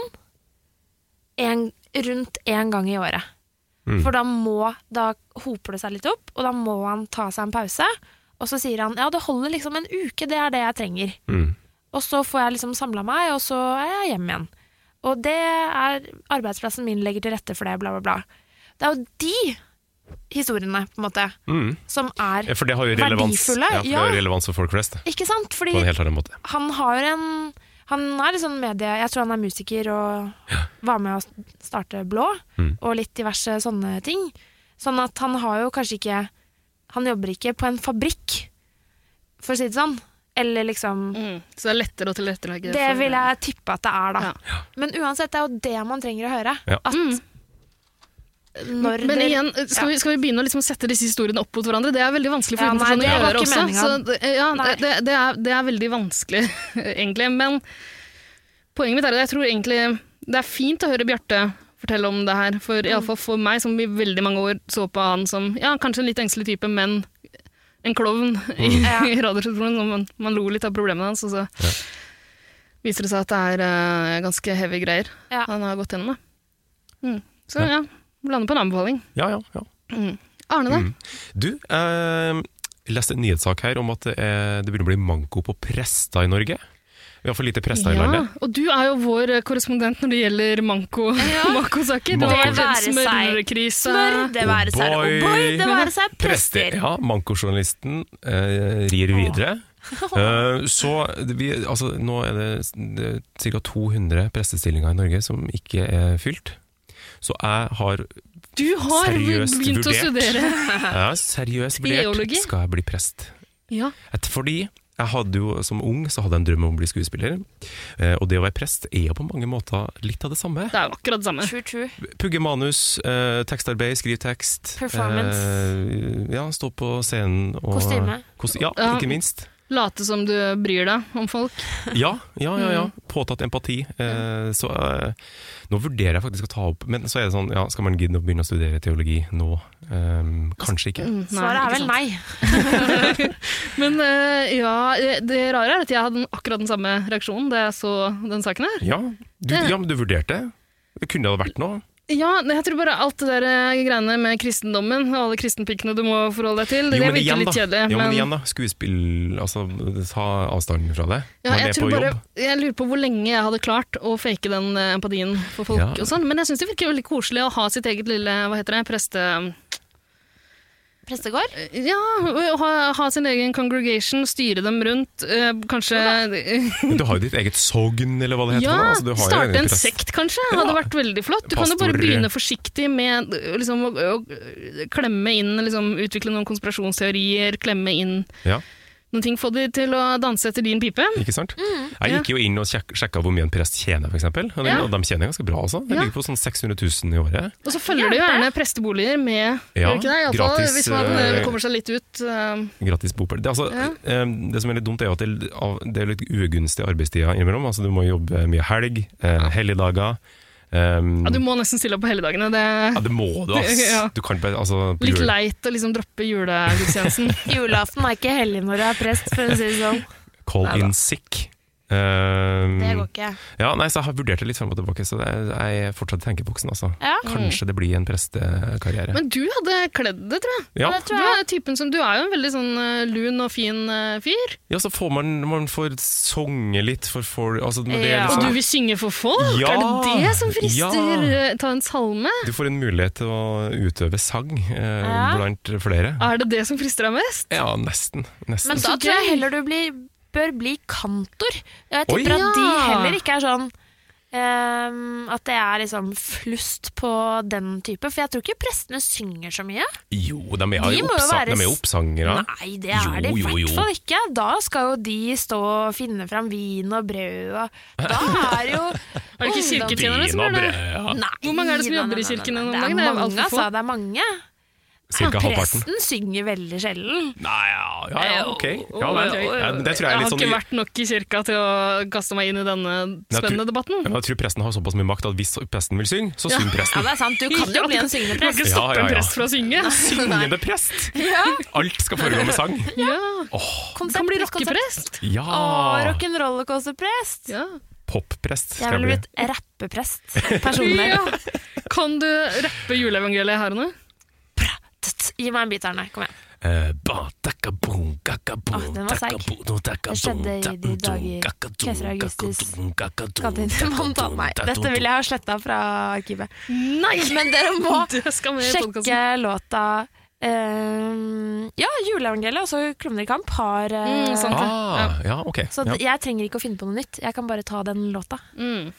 D: en, rundt én gang i året.
C: Mm.
D: For da må Da hoper det seg litt opp, og da må han ta seg en pause. Og så sier han ja, det holder liksom en uke, det er det jeg trenger.
C: Mm.
D: Og så får jeg liksom samla meg, og så er jeg hjemme igjen. Og det er arbeidsplassen min legger til rette for det, bla, bla, bla. Det er jo de historiene, på en måte,
C: Mm.
D: som er
C: Ja, For det har jo relevans,
D: Verdifulle,
C: ja, for Det
D: ja.
C: har relevans for folk flest,
D: Ikke sant? Fordi
C: på en helt annen måte.
D: han har en Han er litt sånn medie... Jeg tror han er musiker og var med å starte Blå,
C: Mm.
D: og litt diverse sånne ting. Sånn at han har jo kanskje ikke Han jobber ikke på en fabrikk, for å si det sånn. Eller liksom
F: mm, Så det er lettere å tilrettelegge
D: Det
F: for-
D: vil jeg tippe at det er, da.
F: Mm. Ja. Mm.
D: Men uansett, det er jo det man trenger å høre.
C: Ja.
D: At når
F: Men
D: det-
F: igjen, skal vi, skal vi begynne å liksom sette disse historiene opp mot hverandre? Det er veldig vanskelig for
D: Ja,
F: ja,
D: nei,
F: utenforstående
D: det
F: å
D: var
F: gjøre
D: ikke
F: også. Så,
D: meningen.
F: det- ja,
D: Nei.
F: det, det, er, det er veldig vanskelig, egentlig. Men poenget mitt er at jeg tror egentlig det er fint å høre Bjarte fortelle om det her. For i alle
D: Mm.
F: fall for meg, som i veldig mange år så på han som ja, kanskje en litt engstelig type, men en klovn i,
D: Mm. Ja.
F: i Radioresepsjonen. og Man, man lo litt av problemene hans, og så viser det seg at det er eh, ganske heavy greier
D: Ja.
F: han har gått gjennom. da. Mm. Så ja, lander på en anbefaling.
C: Ja, ja, ja.
F: Arne, da?
C: Du, eh, jeg leste en nyhetssak her om at det, er, det begynner å bli manko på prester i Norge. Vi har for lite prester i landet.
F: og du er jo vår korrespondent når det gjelder manko- manko-saker. det
C: Manko.
F: har vært
D: Det
F: en
D: være seg.
F: smørkrise.
D: Smør, det være seg
C: O'boy.
D: O'boy, det være
C: Prester.
D: seg prester.
C: Ja, mankojournalisten eh, rir videre. Eh, så vi, altså, nå er det, s- det er ca. 200 prestestillinger i Norge som ikke er fylt. Så jeg har,
F: Du har
C: Seriøst
F: begynt å
C: vurdert.
F: studere.
C: jeg har seriøst
F: Teologi?
C: vurdert skal jeg bli prest.
F: Ja.
C: Et, fordi jeg hadde jo, som ung så hadde jeg en drøm om å bli skuespiller. Eh, og det å være prest er jo på mange måter litt av det samme.
F: Det er jo akkurat det samme.
D: True, true.
C: Pugge manus, eh, tekstarbeid, skriv tekst.
D: Performance.
C: eh, ja, stå på scenen. Og,
D: Kostyme.
C: Kos- ja,
F: Ja.
C: ikke minst.
F: Late som du bryr deg om folk.
C: Ja, ja, ja.
F: Mm.
C: ja. Påtatt empati. Eh, så eh, nå vurderer jeg faktisk å ta opp Men så er det sånn, ja, skal man gidde å begynne å studere teologi nå? Eh, kanskje
F: Mm.
C: ikke.
D: Svaret er vel nei.
F: Men eh, ja, eh, det rare er at jeg hadde akkurat den samme reaksjonen da jeg så den saken her.
C: Ja, du, ja men du vurderte. Det kunne det ha vært noe.
F: Ja, nei, jeg tror bare alt det der eh, greiene med kristendommen og alle kristenpikkene du må forholde deg til, det, det virker litt kjedelig.
C: Jo, men
F: men-
C: igjen da, skuespill, altså ta avstanden fra det.
F: Ja,
C: Man
F: jeg,
C: er
F: tror
C: på
F: bare,
C: jobb.
F: jeg lurer på hvor lenge jeg hadde klart å fake den eh, empatien for folk.
C: Ja.
F: og sånn, Men jeg syns det virker veldig koselig å ha sitt eget lille hva heter det, preste... eh,
D: Prestegård?
F: Ja, å ha, ha sin egen congregation, styre dem rundt. eh, kanskje
C: Men du har jo ditt eget sogn, eller hva det heter.
F: Ja,
C: nå, altså, du har jo
F: starte en
C: prest.
F: sekt, kanskje. Hadde vært veldig flott. Du kan jo bare
C: Pastor-
F: begynne forsiktig med eh, liksom, å, å klemme inn liksom, Utvikle noen konspirasjonsteorier, klemme inn
C: Ja,
F: noen ting. Få de til å danse etter din pipe.
C: ikke sant? Jeg gikk jo inn og sjek sjekka hvor mye en prest tjener, f.eks. Og, de-
F: Mm, Ja.
C: og de tjener ganske bra også. De
F: Ja.
C: ligger på sånn 600 000 i året.
F: Og så følger det jo gjerne presteboliger med
C: Ja,
F: gjør det ikke det? I alle fall
C: gratis,
F: hvis man eh,
C: eh,
F: kommer seg litt ut. eh,
C: Gratis bopel. Det, er altså, eh, det som er litt dumt, er jo at det, av- det er litt ugunstig arbeidstida innimellom. Altså, du må jobbe mye helg, eh, helligdager. ehm,
F: ja, du må nesten stille opp på helligdagene. Det
C: ja,
F: er
C: det må du, ass!
F: Ja.
C: Du kan ikke bare altså, på
F: litt
C: jul-
F: leit å liksom droppe julegudstjenesten.
D: Julaften er ikke hellig når du er prest, for å si det sånn.
C: Call
D: Neida.
C: in sick.
F: Mm.
C: Ehm,
D: Det går ikke.
C: ja, nei, så Jeg har vurdert det litt frem og tilbake, så det er, jeg er fortsatt i tenkeboksen. Altså.
D: Ja.
C: Kanskje det blir en prestekarriere.
F: Men du hadde kledd det, tror jeg.
C: ja.
D: det
F: Du
D: tror jeg.
F: er, typen som, du er jo en veldig sånn eh, lun og fin eh, fyr.
C: ja, så får man, man får songe litt for folk altså, men det er
D: Ja.
F: Og du
C: liksom,
F: vil synge for folk!
C: Ja.
F: Er det det som frister?
C: Ja.
F: eh, Ta en salme?
C: du får en mulighet til å utøve sang eh,
D: Ja. Ah.
C: blant flere.
F: Er det det som frister deg mest?
C: Ja, nesten. nesten.
D: Men da
F: Så
D: tror jeg
F: gøy.
D: heller du blir, bør bli kantor. Jeg
C: Oi.
D: tipper at de
F: Ja.
D: heller ikke er sånn ehm, At det er liksom flust på den type. For jeg tror ikke prestene synger så mye.
C: Jo, de er
D: De
C: jo
D: må jo
C: oppsa-
D: være
C: de er jo
D: s-
C: oppsangere.
D: Nei, det er det
C: Jo,
D: i
C: jo, jo.
D: hvert fall ikke. Da skal jo de stå og finne fram vin og brød og Da er jo
F: Er det ikke
D: ungdom-
F: kirketjenerne
C: Vin
F: som
C: og
F: gjør det?
C: brød, ja.
D: Nei,
F: Hvor mange er det som
D: nei,
F: jobber
D: nei,
F: i
D: nei,
F: kirken
D: nei,
F: om
D: nei.
F: dagen? Det er jo
D: mange,
F: altfor få.
D: altså. Det er mange.
C: Cirka halvparten.
D: Presten synger veldig sjelden.
C: Nei, ja, ja, ja ok. Ja, nei,
D: Oi, oi, oi.
C: ja, men det tror jeg
F: Jeg
C: er
F: har
C: litt
F: ikke
C: sånn
F: vært nok i kirka til å kaste meg inn i denne
C: jeg tror-
F: spennende debatten.
C: Men jeg tror presten har såpass mye makt at hvis presten vil synge, så synger
D: Ja,
C: presten.
D: det er sant. Du kan jo bli en syngende
F: Du kan ikke
D: prest.
F: stoppe
C: Ja, ja,
F: en
C: ja.
F: prest fra å synge.
C: Syngende prest! Alt skal foregå med sang.
F: Ja.
D: Konsept,
F: Kan bli
D: konsept.
F: rockeprest.
D: Å,
C: Ja!
D: rock'n'rollercoaster-prest!
F: Ja.
C: Popprest
D: Jeg
C: skal
D: ville
C: jeg bli.
D: blitt rappeprest. Personlig.
F: Ja. Kan du rappe juleevangeliet her og nå?
D: Tss, Gi meg en bit, Arne. Kom igjen.
C: Eh, ba, takka, boom, kakka, boom,
D: Å, den var
C: takka,
D: seig.
C: boom, takka,
D: Det skjedde
C: boom,
D: i
C: takka,
D: de dager
C: boom, kakka, boom,
D: Keiser Augustus
C: kakka, boom, kakka, boom,
D: Skal til
C: takka,
D: Montana.
C: boom,
D: Nei,
C: takka,
D: dette
C: boom.
D: vil jeg ha sletta fra arkivet.
F: Nei!
D: Men dere må
F: Det skal med i podcasten.
D: sjekke låta ehm, Ja, Juleevangeliet, altså Klovner i kamp, har eh,
F: Mm, sant.
C: Ah, ja, ok.
D: Så
C: Ja.
D: d- jeg trenger ikke å finne på noe nytt. Jeg kan bare ta den låta.
F: Mm.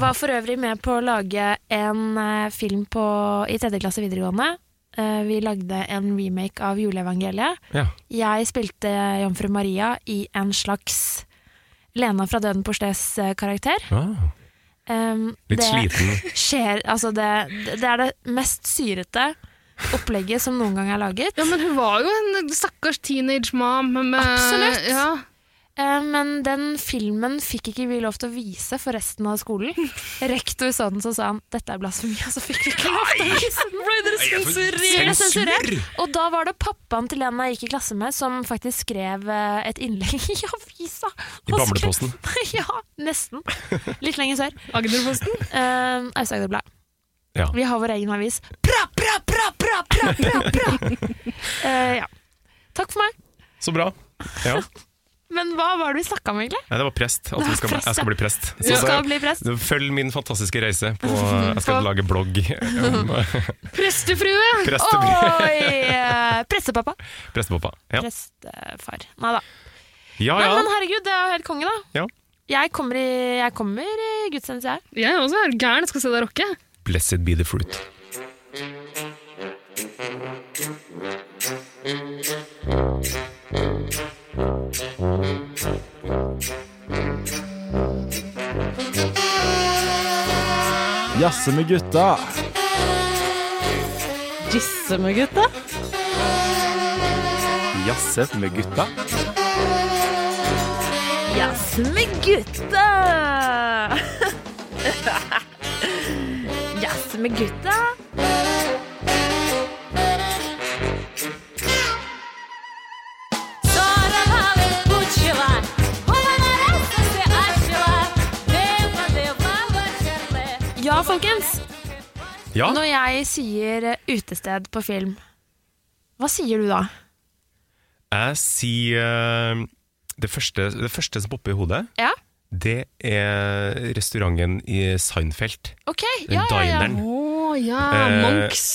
D: Var for øvrig med på å lage en eh, film på, i tredje klasse videregående. Eh, vi lagde en remake av Juleevangeliet.
C: Ja.
D: Jeg spilte Jomfru Maria i en slags Lena fra Døden eh, Porstes-karakter.
C: Ah, litt sliten.
D: Ehm, Skjer, altså det, det er det mest syrete opplegget som noen gang er laget.
F: Ja, men hun var jo en stakkars teenage mom. Med,
D: Absolutt.
F: Ja.
D: Eh, men den filmen fikk ikke vi lov til å vise for resten av skolen. Rektor så den, så sa han 'dette er blasfemi', og så fikk vi ikke lov til å vise den.
F: Ble dere
D: Ble
F: sensurert?
D: sensurert. Og da var det pappaen til den jeg gikk i klasse med, som faktisk skrev eh, et innlegg i avisa.
C: I
D: Og skrev-
C: Bamleposten.
D: ja, nesten. Litt lenger sør.
F: Agderposten?
D: Eh, Aust-Agder Blad.
C: Ja.
D: Vi har vår egen avis. Pra, pra, pra, pra, pra, pra, pra. Eh, ja. Takk for meg.
C: Så bra. Ja.
D: Men hva var det vi snakka om, egentlig?
C: Nei, det var prest. At vi skal, jeg skal bli prest.
D: Du
C: Så,
D: skal bli prest.
C: så, følg min fantastiske reise på Jeg skal
D: På-
C: lage blogg om eh,
F: Prestefrue!
C: preste,
D: Oi! eh, Prestepappa.
C: prestepappa. Ja.
D: Prestefar. Nei da.
C: ja
D: Nei,
C: ja.
D: men herregud, det er jo helt konge, da.
C: Ja.
D: Jeg kommer i, jeg kommer i gudstjeneste, jeg.
F: Jeg er også er gæren, jeg skal se deg rocke.
C: Blessed be the fruit.
I: Jazze med gutta.
E: Jazze med gutta.
J: Jazz med gutta! Jazz med gutta.
D: Ja, folkens.
C: Ja.
D: Når jeg sier eh, utested på film, hva sier du da?
C: Jeg sier eh, det første, det første som popper i hodet,
D: Ja,
C: det er restauranten i Seinfeld.
D: ok.
C: Den
D: Ja, ja, ja.
C: dineren.
F: Å ja,
C: Eh,
F: Monks.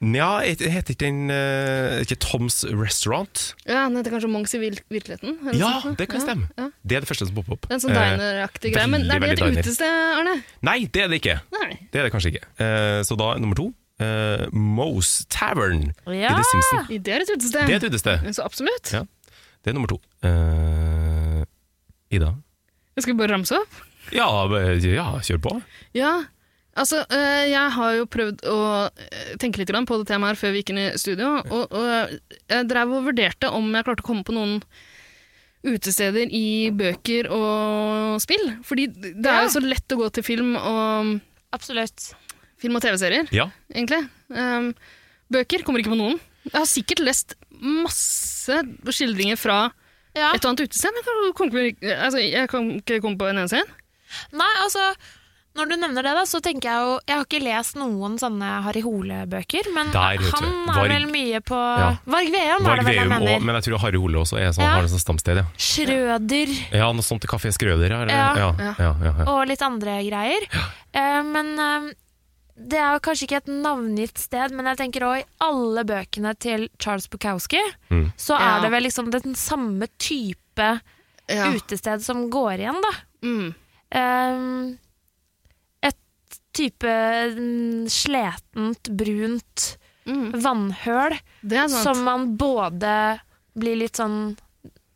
C: Nja, het- heter ikke den eh, ikke Toms Restaurant?
F: Ja, Den heter kanskje Monks i vil- virkeligheten? eller
C: Ja,
F: sånt.
C: det kan
F: sånn? Ja,
C: stemme.
F: ja.
C: Det er det første som popper opp.
F: Det er en sånn
C: Eh,
F: dineraktig greie. Men
C: veldig,
F: er det
C: veldig
F: et
C: diner.
F: utested, Arne?
C: Nei, det er det ikke.
F: Nei.
C: Det er det kanskje ikke. Eh, så da nummer to. eh, Moe's Tavern
D: Ja.
C: i The Simpsons.
F: Det er et utested.
C: Det er et utested.
F: Så absolutt.
C: Ja. Det er nummer to. Eh, Ida?
F: Jeg skal bare ramse opp.
C: Ja, eh, ja, kjør på.
F: Ja, altså øh, jeg har jo prøvd å øh, tenke litt grann på det temaet her før vi gikk inn i studio, og, og jeg drev og vurderte om jeg klarte å komme på noen utesteder i bøker og spill. Fordi det er jo så lett å gå til film og,
D: Absolutt.
F: film og TV-serier,
C: Ja.
F: egentlig. Ehm, bøker kommer ikke på noen. Jeg har sikkert lest masse skildringer fra
D: Ja.
F: et eller annet utested, men jeg kan, ikke- altså, jeg kan ikke komme på en eneste en.
D: Nei, altså, når du nevner det, da, så tenker jeg jo Jeg har ikke lest noen sånne Harry Hole-bøker, men
C: Der, vet du.
D: han er
C: Varg.
D: vel mye på
C: Ja.
D: Varg Veum,
C: Varg
D: er Sånn det vel jeg
C: Veum
D: mener.
C: og Men jeg tror Harry Hole også er sånn,
D: Ja.
C: har det som stamsted, ja.
D: Schrøder
C: Ja, noe sånt til Kafé Skrøder, ja. eller-
D: Ja.
C: ja,
F: Ja.
C: ja, ja, ja.
D: og litt andre greier. Eh, men eh, det er jo kanskje ikke et navngitt sted, men jeg tenker også i alle bøkene til Charles Bukowski,
C: Mm.
D: så er
F: Ja.
D: det vel liksom den samme type
F: Ja.
D: utested som går igjen, da.
F: Mm.
D: Ehm, et type mm, sletent, brunt
F: Mm.
D: vannhøl
F: Det er sant.
D: som man både blir litt sånn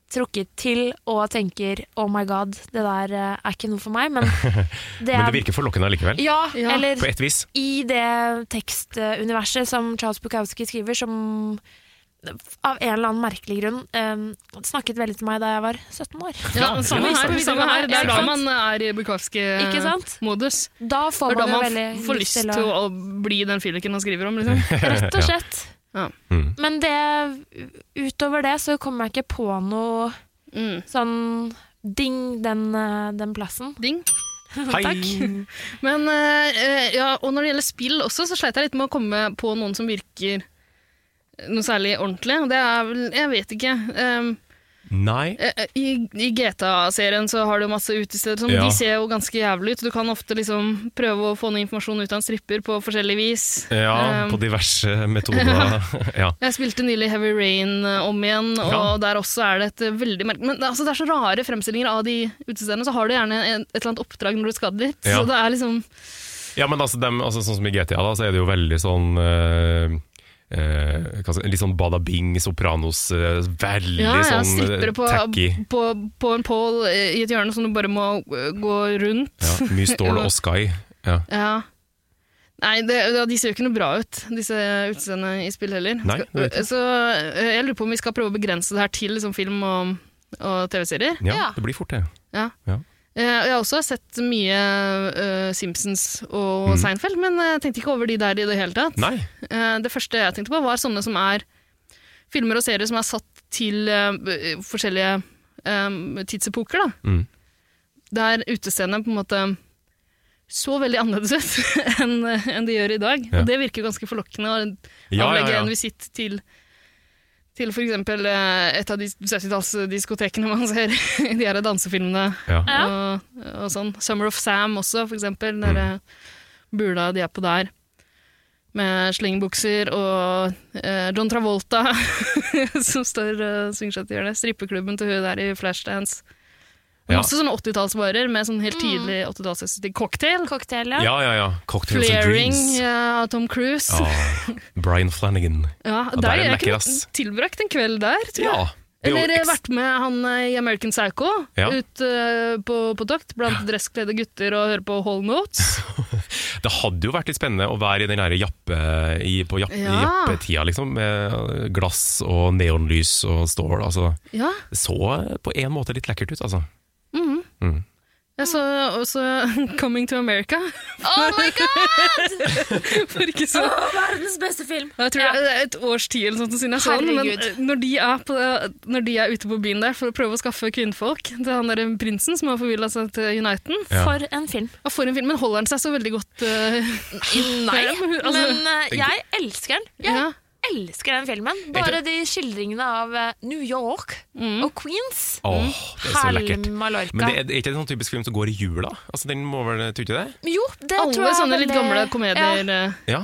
D: trukket til og tenker 'oh my god, det der eh, er ikke noe for meg', men det
C: Men det
D: er
C: virker forlokkende likevel.
D: ja,
F: Ja.
D: eller
C: På ett vis.
D: i det tekstuniverset som Charles Bukowski skriver, som av en eller annen merkelig grunn eh, snakket veldig til meg da jeg var 17 år.
F: Ja, samme
D: Ja,
F: her.
D: ikke
F: Samme
D: sant?
F: her. Det er da
D: Ikke sant?
F: man er i
D: Ikke sant?
F: Bukowski-modus.
D: Da
F: Det
D: får
F: er da
D: man, jo
F: man
D: veldig
F: får lyst til å bli den fylliken han skriver om. Liksom.
D: Rett og slett.
F: Ja.
C: Mm.
D: Men det, utover det så kommer jeg ikke på noe
F: Mm.
D: sånn ding den, eh, den plassen.
F: Ding.
C: Hei!
F: Men, eh, ja, og når det gjelder spill også, så sleit jeg litt med å komme på noen som virker noe særlig ordentlig. Og Det er vel Jeg vet ikke. Um,
C: Nei.
F: eh, eh, I, i GTA-serien så har du masse utesteder. Som,
C: Ja.
F: De ser jo ganske jævlig ut. Du kan ofte liksom prøve å få noe informasjon ut av en stripper på forskjellig vis.
C: Ja,
F: Um,
C: på diverse metoder. Ja.
F: Jeg spilte nylig Heavy Rain eh, om igjen, og
C: Ja.
F: der også er det et eh, veldig merke... Men det- altså, det er så rare fremstillinger av de utestedene, så har du gjerne en- et eller annet oppdrag når du skal dit.
C: Ja.
F: Så det er liksom
C: ja, men altså, dem, altså sånn som i GTA, da, så er det jo veldig sånn eh, eh, hva skal- Litt sånn Bada Bing, Sopranos, eh, veldig
F: Ja, ja,
C: sånn eh,
F: strippere på,
C: tacky.
F: på, på en pål eh, i et hjørne som du bare må eh, gå rundt.
C: Ja, mye stål og sky. Ja.
F: Ja. Nei, det, ja, de ser jo ikke noe bra ut, disse utestedene i spill heller.
C: Nei, det gjør de ikke.
F: så eh, jeg lurer på om vi skal prøve å begrense det her til liksom, film og, og TV-serier.
C: ja, det blir fort det.
F: Ja.
C: Ja.
F: Eh, og Jeg har også sett mye eh, Simpsons og
C: Mm.
F: Seinfeld, men jeg tenkte ikke over de der i det hele tatt.
C: Nei.
F: Eh, det første jeg tenkte på, var sånne som er filmer og serier som er satt til eh, b- forskjellige eh, tidsepoker. Da.
C: Mm.
F: Der utestedene på en måte så veldig annerledes ut enn enn de gjør i dag.
C: Ja.
F: Og det virker jo ganske forlokkende å
C: Ja, ja,
F: avlegge
C: ja.
F: en visitt til til for eksempel eh, et av de 70-tallsdiskotekene man ser i de her dansefilmene
C: Ja. Mm.
F: og, og sånn. Summer of Sam også, for eksempel. Den der bula de er på der. Med slengbukser og eh, John Travolta som står og svinger seg til hjørnet. Strippeklubben til hun der i Flashdance.
C: Ja. Mm.
F: Masse sånne 80-tallsbarer med sånn helt tydelig 80-tallsestetikk. Cocktail,
D: Cocktail, ja.
C: ja, ja, ja. Cocktails and
F: flaring
C: dreams.
F: ja, av Tom Cruise. Ja,
C: Ah, Brian Flanagan. der er
F: der, jeg
C: den lekker,
F: kunne
C: ass.
F: tilbrakt en kveld der, tror jeg.
C: Ja. det er jo
F: Eller eh,
C: ekst-
F: vært med han eh, i American Psycho
C: Ja.
F: ut eh, på, på tokt blant dresskledde gutter og høre på Hall Notes.
C: Det hadde jo vært litt spennende å være i den her jappe, i, på japp, i
F: Ja.
C: jappetida, liksom. Med glass og neonlys og stål. Altså,
F: Ja,
C: det så på en måte litt lekkert ut, altså.
F: mhm.
C: Mm.
F: Jeg så også Coming to America.
J: Oh my
F: god! For ikke så
J: Åh, verdens beste film!
F: Jeg tror det er et års tid eller sånt siden jeg så den, men
J: Herregud.
F: eh, når de, er på, når de er ute på byen der for å prøve å skaffe kvinnfolk til han der prinsen som har forvilla seg til Uniten
D: Ja. For en film.
F: Ja, for en film. Men holder han seg så veldig godt eh,
D: Nei,
F: der? Altså-
D: men eh, jeg elsker den. Jeg elsker den filmen. Bare de skildringene av eh, New York
F: Mm.
D: og Queens.
C: Åh,
D: Mm.
C: det er så lekkert.
D: Halmallorca.
C: Men det er, er ikke en sånn typisk film som går i jula? Altså, den må vel, tror du ikke det?
D: Jo, det
F: Alle
D: tror jeg er
F: sånne litt
D: veldig-
F: gamle komedier.
D: Ja.
F: eh,
C: Ja.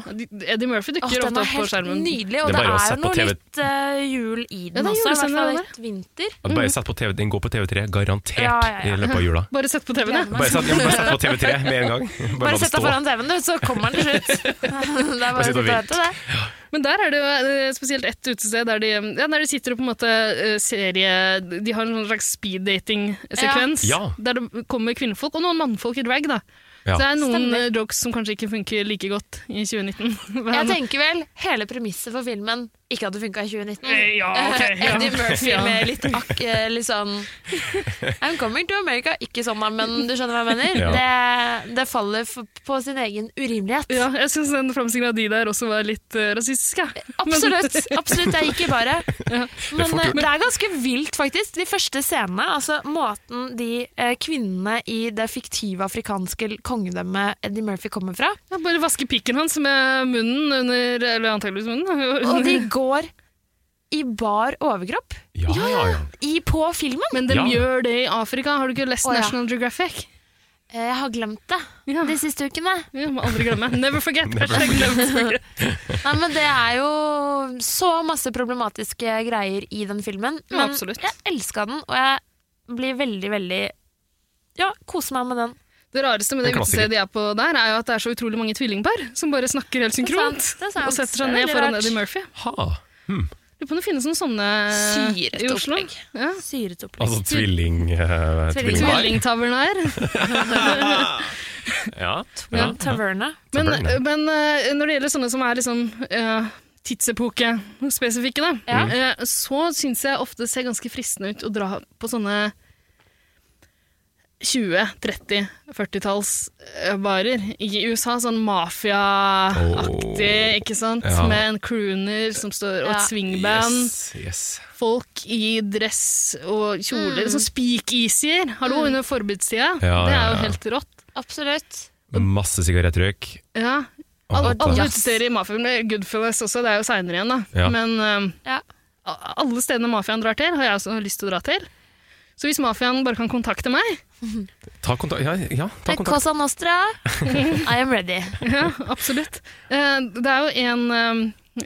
F: Eddie Murphy
D: Åh, den
F: dukker ofte
D: er
F: opp på
D: helt
F: skjermen.
D: nydelig,
C: Det
D: og
C: er
D: det
C: bare å
D: er
C: sette
D: jo
C: på
D: noe
C: TV.
D: litt eh, jul i
F: det
D: den
F: er
D: også. I hvert
F: julestemning
D: fall
F: over
D: litt vinter.
C: At Bare sett på TV, den går på TV3, garantert,
D: Ja, ja, ja.
C: i løpet av jula.
F: Bare sett på TV-en,
C: Bare sett, ja, men bare sett på TV3 med en gang. Bare, la
D: Bare
C: den
D: sett deg
C: stå.
D: foran TV-en, du, så kommer den til slutt. det er bare å
C: sitt
D: sitte
C: og
D: og vente, det.
F: Men der er det jo eh, spesielt ett utested der de, ja, der de sitter og på en måte eh, serie De har en sånn slags speeddating-sekvens
C: Ja. Ja.
F: der det kommer kvinnefolk og noen mannfolk i drag. da.
C: Ja.
F: Så det er noen
D: Stemmer.
F: eh, jokes som kanskje ikke funker like godt i 2019.
D: Jeg tenker vel hele premisset for filmen ikke hadde funka i 2019.
F: Eh, ja, ok,
D: Eh,
F: ja.
D: Eddie Murphy
F: Ja.
D: med litt akk eh, Litt sånn I'm coming to America. Ikke sånn, da, men du skjønner hva jeg mener? Det, det faller f på sin egen urimelighet.
F: ja, jeg syns den framstillingen av de der også var litt eh, rasistisk. Ja.
D: Absolutt. absolutt, Jeg gikk i baret. Men,
F: fort
D: eh,
F: gjort.
D: men det er ganske vilt, faktisk. De første scenene, altså måten de eh, kvinnene i det fiktive afrikanske kongedømmet Eddie Murphy kommer fra,
F: Ja, bare vaske pikken hans med munnen under Eller antakeligvis munnen.
D: og de går i bar overkropp
C: Ja, ja, ja.
D: i, på filmen.
F: Men de
C: Ja.
F: gjør det i Afrika. Har du ikke lest
D: Å, ja.
F: National Geographic?
D: Eh, Jeg har glemt det de siste ukene.
F: Ja, må aldri glemme. Never forget.
C: Never
F: Hashtag never forget.
D: Nei, men Det er jo så masse problematiske greier i den filmen.
F: Ja,
D: Men
F: absolutt.
D: jeg elska den, og jeg blir veldig, veldig Ja, koser meg med den.
F: Det rareste med det
C: En klassiker.
F: utestedet de er på der, er jo at det er så utrolig mange tvillingpar som bare snakker helt
D: Det er
F: synkront.
D: sant, det er sant.
F: Og setter
D: Det
F: seg
D: er
F: ned
D: veldig
F: foran
D: rart.
F: Eddie Murphy.
C: Ha.
F: Lurer på om det finnes noen sånne eh,
D: Syret
F: i Oslo.
D: opplegg.
F: Ja.
D: Syret opplegg.
C: Altså tvilling... eh, tvillingpar.
F: Tvillingtavlen her.
C: Ja.
D: Altså,
F: Ja.
C: ja.
D: Taverne.
F: Men,
C: Tavern, ja.
F: men eh, når det gjelder sånne som er liksom eh, tidsepoke-spesifikke, da, eh, så syns jeg ofte det ser ganske fristende ut å dra på sånne 20-, 30-, 40-tallsbarer eh, i USA. Sånn mafia-aktig, ikke sant?
C: Ja.
F: Med en crooner som står, og
D: Ja.
F: et swingband.
C: Yes, yes.
F: Folk i dress og kjoler. Sånn speakeasier! Hallo, under forbudstida.
C: Ja,
F: det er
C: ja,
F: jo
C: ja.
F: helt rått.
D: Absolutt.
C: Masse sigarettrøyk.
F: Ja. Alle,
C: Og-
F: alle
C: Jazz.
F: utesteder i mafiafilmer, Goodfellas også, det er jo seinere igjen, da.
C: Ja.
F: Men eh,
D: Ja.
F: a- alle stedene mafiaen drar til, har jeg også lyst til å dra til. Så hvis mafiaen bare kan kontakte meg,
C: Ta kontakt. Ja, ja ta
D: Men
C: kontakt.
D: Cosa Nostra, I am ready.
F: Ja, absolutt. Eh, Det er jo en eh,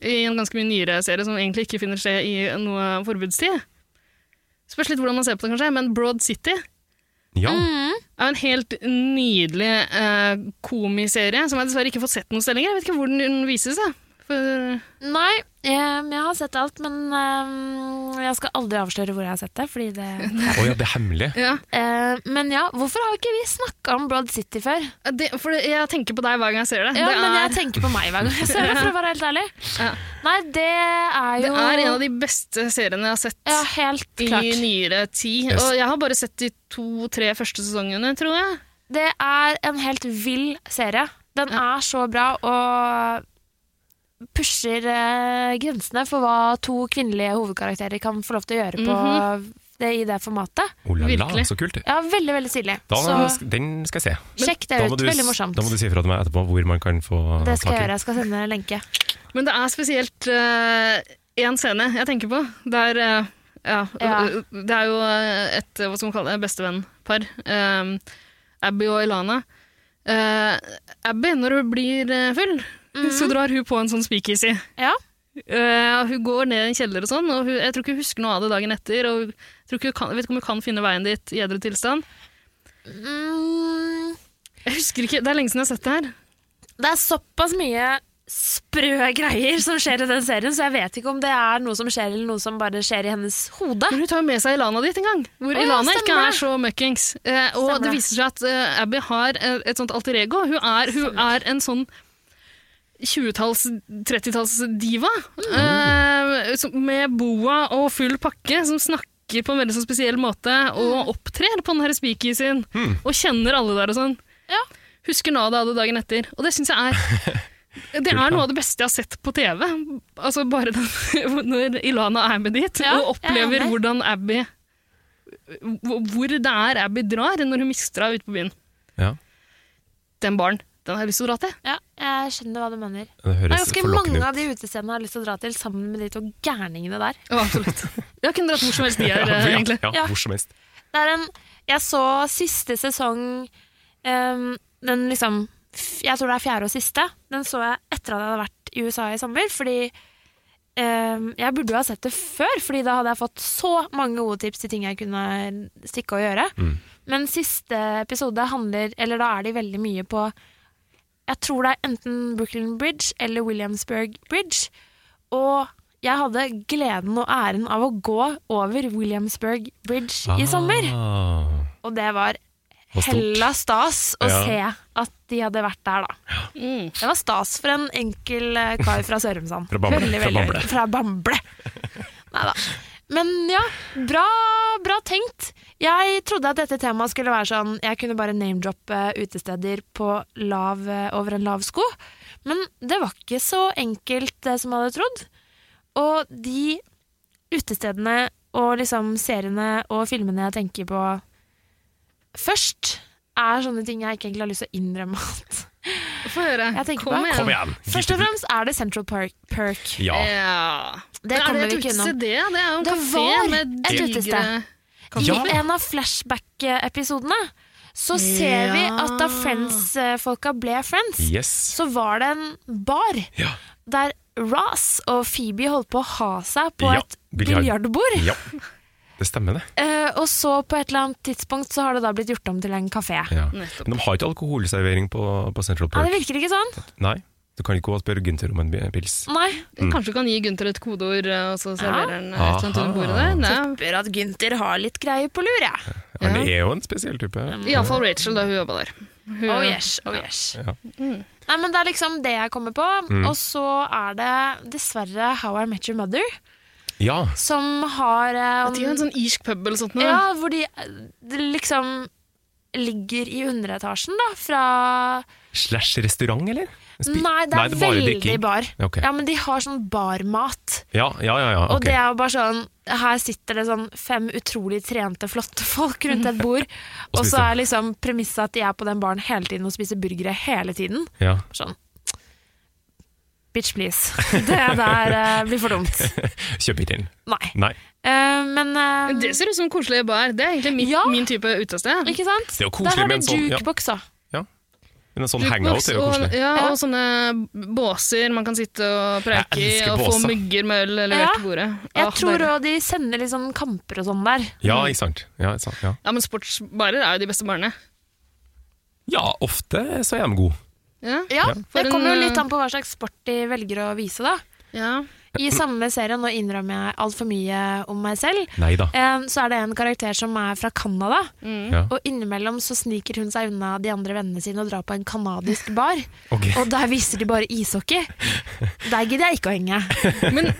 F: i en ganske mye nyere serie som egentlig ikke finner sted i noe forbudstid. Spørs litt hvordan man ser på det, kanskje, men Broad City er
C: Ja.
D: Mm.
F: jo en helt nydelig eh, komiserie som jeg dessverre ikke har fått sett noe sted lenger. Jeg vet ikke hvor den vises. jeg. For,
D: Nei, eh, jeg har sett alt, men eh, jeg skal aldri avsløre hvor jeg har sett det. Fordi det
C: Å ja, det er hemmelig.
F: ja.
D: eh, men ja, hvorfor har ikke vi snakka om Broad City før?
F: det, for det, jeg tenker på deg hver gang jeg ser det.
D: Ja,
F: det,
D: Men jeg
F: er,
D: tenker på meg hver gang jeg ser det, for å være helt ærlig.
F: Ja.
D: Nei, det er
F: det
D: jo
F: er en av de beste seriene jeg har sett.
D: Ja, helt
F: I
D: klart.
F: nyere tid.
C: Yes.
F: Og jeg har bare sett de to-tre første sesongene, tror jeg.
D: Det er en helt vill serie. Den er så bra og pusher eh, grensene for hva to kvinnelige hovedkarakterer kan få lov til å gjøre på
F: Mhm.
D: det, i det formatet.
C: Oh la la,
F: Virkelig.
C: så kult.
D: Ja, veldig, veldig stilig.
C: Da,
D: så
C: den skal jeg se.
D: sjekk det
C: Da må
D: ut.
C: du-
D: Veldig morsomt.
C: Da må du si ifra til meg etterpå hvor man kan få
D: det skal jeg
C: tak i.
D: gjøre. Jeg skal sende en lenke.
F: Men det er spesielt én scene jeg tenker på. Der eh, ja,
D: Ja.
F: øh, Det er jo eh, et eh, hva skal man kalle det, bestevennpar. eh, Abby og Ilana. Eh, Abby, når hun blir eh, full,
D: Mhm.
F: så drar hun på en sånn speakeasy.
D: Ja.
F: Eh, og hun går ned i en kjeller og sånn, og hun, jeg tror ikke hun husker noe av det dagen etter. Og hun- jeg, tror ikke hun kan, jeg vet ikke om hun kan finne veien dit i edru tilstand.
D: Mm,
F: Jeg husker ikke, Det er lenge siden jeg har sett det her.
D: det er såpass mye sprø greier som skjer i den serien, så jeg vet ikke om det er noe som skjer, eller noe som bare skjer i hennes hode.
F: Men hun tar jo med seg Ilana dit en gang, hvor
D: Å ja,
F: Ilana ikke
D: stemmer
F: er
D: det.
F: så møkkings. Eh, og
D: Stemmer
F: det
D: det.
F: viser seg at eh, Abby har eh, et sånt alter ego. Hun er, hun er en sånn 20-talls,
D: Mm.
F: 30-talls diva. eh, som- med boa og full pakke, som snakker sminker på en veldig sånn spesiell måte,
D: Mm.
F: og opptrer på den her spiker sin,
C: Hmm.
F: og kjenner alle der og sånn. Husker Nada hadde dagen etter, og det syns jeg er Det er noe av det beste jeg har sett på TV. Altså Bare den, når Ilana er med dit
D: Ja,
F: og
D: jeg
F: opplever
D: er med.
F: hvordan Abby hvor- Hvor det er Abby drar når hun mister henne ute på byen.
C: Ja.
F: Den baren, den har jeg lyst til å dra til.
D: Ja, jeg skjønner hva du mener.
C: Det høres
D: Det er ganske
C: forlokkende
D: mange
C: ut.
D: av de utestedene jeg har lyst til å dra til, sammen med de to gærningene der.
F: Ja, absolutt. Jeg kunne dratt hvor som helst de er,
C: ja,
F: eh,
C: ja,
F: egentlig.
C: Ja,
D: Ja.
C: hvor som helst.
D: Det er en Jeg så siste sesong ehm, Den liksom f- Jeg tror det er fjerde og siste. Den så jeg etter at jeg hadde vært i USA i sommer, fordi ehm, jeg burde jo ha sett det før, fordi da hadde jeg fått så mange gode tips til ting jeg kunne stikke og gjøre. Men siste episode handler Eller da er de veldig mye på Jeg tror det er enten Brooklyn Bridge eller Williamsburg Bridge. Og jeg hadde gleden og æren av å gå over Williamsburg Bridge i sommer.
C: Ah.
D: Og det var
C: Var stort.
D: hella stas å
C: Ja.
D: se at de hadde vært der, da. Det var stas for en enkel eh, kar fra Sørumsand.
C: Fra Bamble,
D: Veldig,
C: fra
D: veldig-
C: Bamble.
D: Fra Bamble. Nei da. Men ja, bra, bra tenkt. Jeg trodde at dette temaet skulle være sånn Jeg kunne bare name-droppe eh, utesteder på lav, eh, over en lav sko. Men det var ikke så enkelt det som jeg hadde trodd. Og de utestedene og liksom seriene og filmene jeg tenker på først, er sånne ting jeg ikke egentlig har lyst til å innrømme at
F: Få høre.
D: jeg tenker på.
F: Kom igjen.
C: Kom igjen!
D: Først og eh, fremst er det Central Park. Perk.
C: Ja.
F: Ja.
D: Det
F: er
D: kommer
F: det
D: vi
F: et
D: ikke
F: utested,
D: unna.
F: det? Det er jo en
D: Det
F: kafé
D: var
F: med
D: et
F: digre
D: utested. I
C: Ja.
D: en av flashback-episodene så ser vi
F: Ja.
D: at da Friends-folka ble Friends,
C: Yes.
D: så var det en bar
C: Ja.
D: der Ross og Phoebe holdt på å ha seg på
C: Ja,
D: et
C: biljard.
D: biljardbord.
C: ja. Det stemmer, det.
D: Eh, og så på et eller annet tidspunkt så har det da blitt gjort om til en kafé.
C: Ja.
F: Nettopp.
C: Men de har ikke alkoholservering på, på Central
D: Ja, det
C: Park.
D: virker ikke sånn.
C: Nei. Du kan ikke gå og spørre Gunther om en bi- pils.
D: Nei.
F: Kanskje du kan gi Gunther et kodeord, eh, og så serverer han eh,
C: Mm. Aha.
F: et sånt under bordet der? Nei.
D: Bør at Gunther har litt greier på lur, jeg.
C: Han er jo en spesiell type.
F: Iallfall Rachel, da hun jobba der. Hun,
D: Oh yes, oh yes.
C: Ja. Mm.
D: Nei, men det er liksom det jeg kommer på. Og så er det dessverre How I Met Your Mother,
C: Ja.
D: som har eh,
F: At de har en sånn irsk pub eller sånt noe.
D: Ja, hvor de eh, de liksom ligger i underetasjen, da, fra
C: Slash restaurant, eller? Spi-
D: Nei, det er,
C: bare
D: veldig
C: drikking.
D: bar.
C: Ok.
D: Ja, men de har sånn barmat.
C: Ja, ja, ja. ja.
D: Og
C: ok.
D: det er jo bare sånn Her sitter det sånn fem utrolig trente, flotte folk rundt et bord, og så
C: spiser.
D: er liksom premisset at de er på den baren hele tiden og spiser burgere hele tiden.
C: ja.
D: Sånn Bitch, please. Det der eh, blir for dumt.
C: Kjøp ikke inn.
D: Nei.
C: Nei.
D: Eh, men eh,
F: Det ser ut som en koselig bar. Det er egentlig mitt,
D: Ja.
F: min type utested.
D: Ikke sant?
C: Det er jo
D: Der
C: koselig
D: har
C: med en
D: du
C: sånn- ja.
D: jukebox, da.
C: Men en sånn hangout
F: Jukebox
C: er jo
F: og,
C: koselig.
F: ja,
D: Ja.
F: og sånne båser man kan sitte og preike i,
C: elsker
F: og få
C: båser.
F: mugger med øl levert
D: Ja.
F: til bordet.
D: Jeg
F: Ah,
D: tror
F: deilig.
D: òg de sender litt sånn kamper og sånn der.
C: Ja, ikke sant. Ja, ikke sant, ja.
F: Ja, men sportsbarer er jo de beste barene.
C: ja, ofte så er de gode.
F: Ja.
D: Ja,
F: For
D: Det kommer
F: en, eh,
D: jo litt an på hva slags sport de velger å vise, da.
F: ja.
D: I samme serie, nå innrømmer jeg altfor mye om meg selv,
C: Nei da.
D: eh, så er det en karakter som er fra Canada.
F: Mm.
C: Ja.
D: Og innimellom så sniker hun seg unna de andre vennene sine og drar på en canadisk bar.
C: Ok.
D: Og der viser de bare ishockey. Der gidder jeg ikke å henge.
F: Men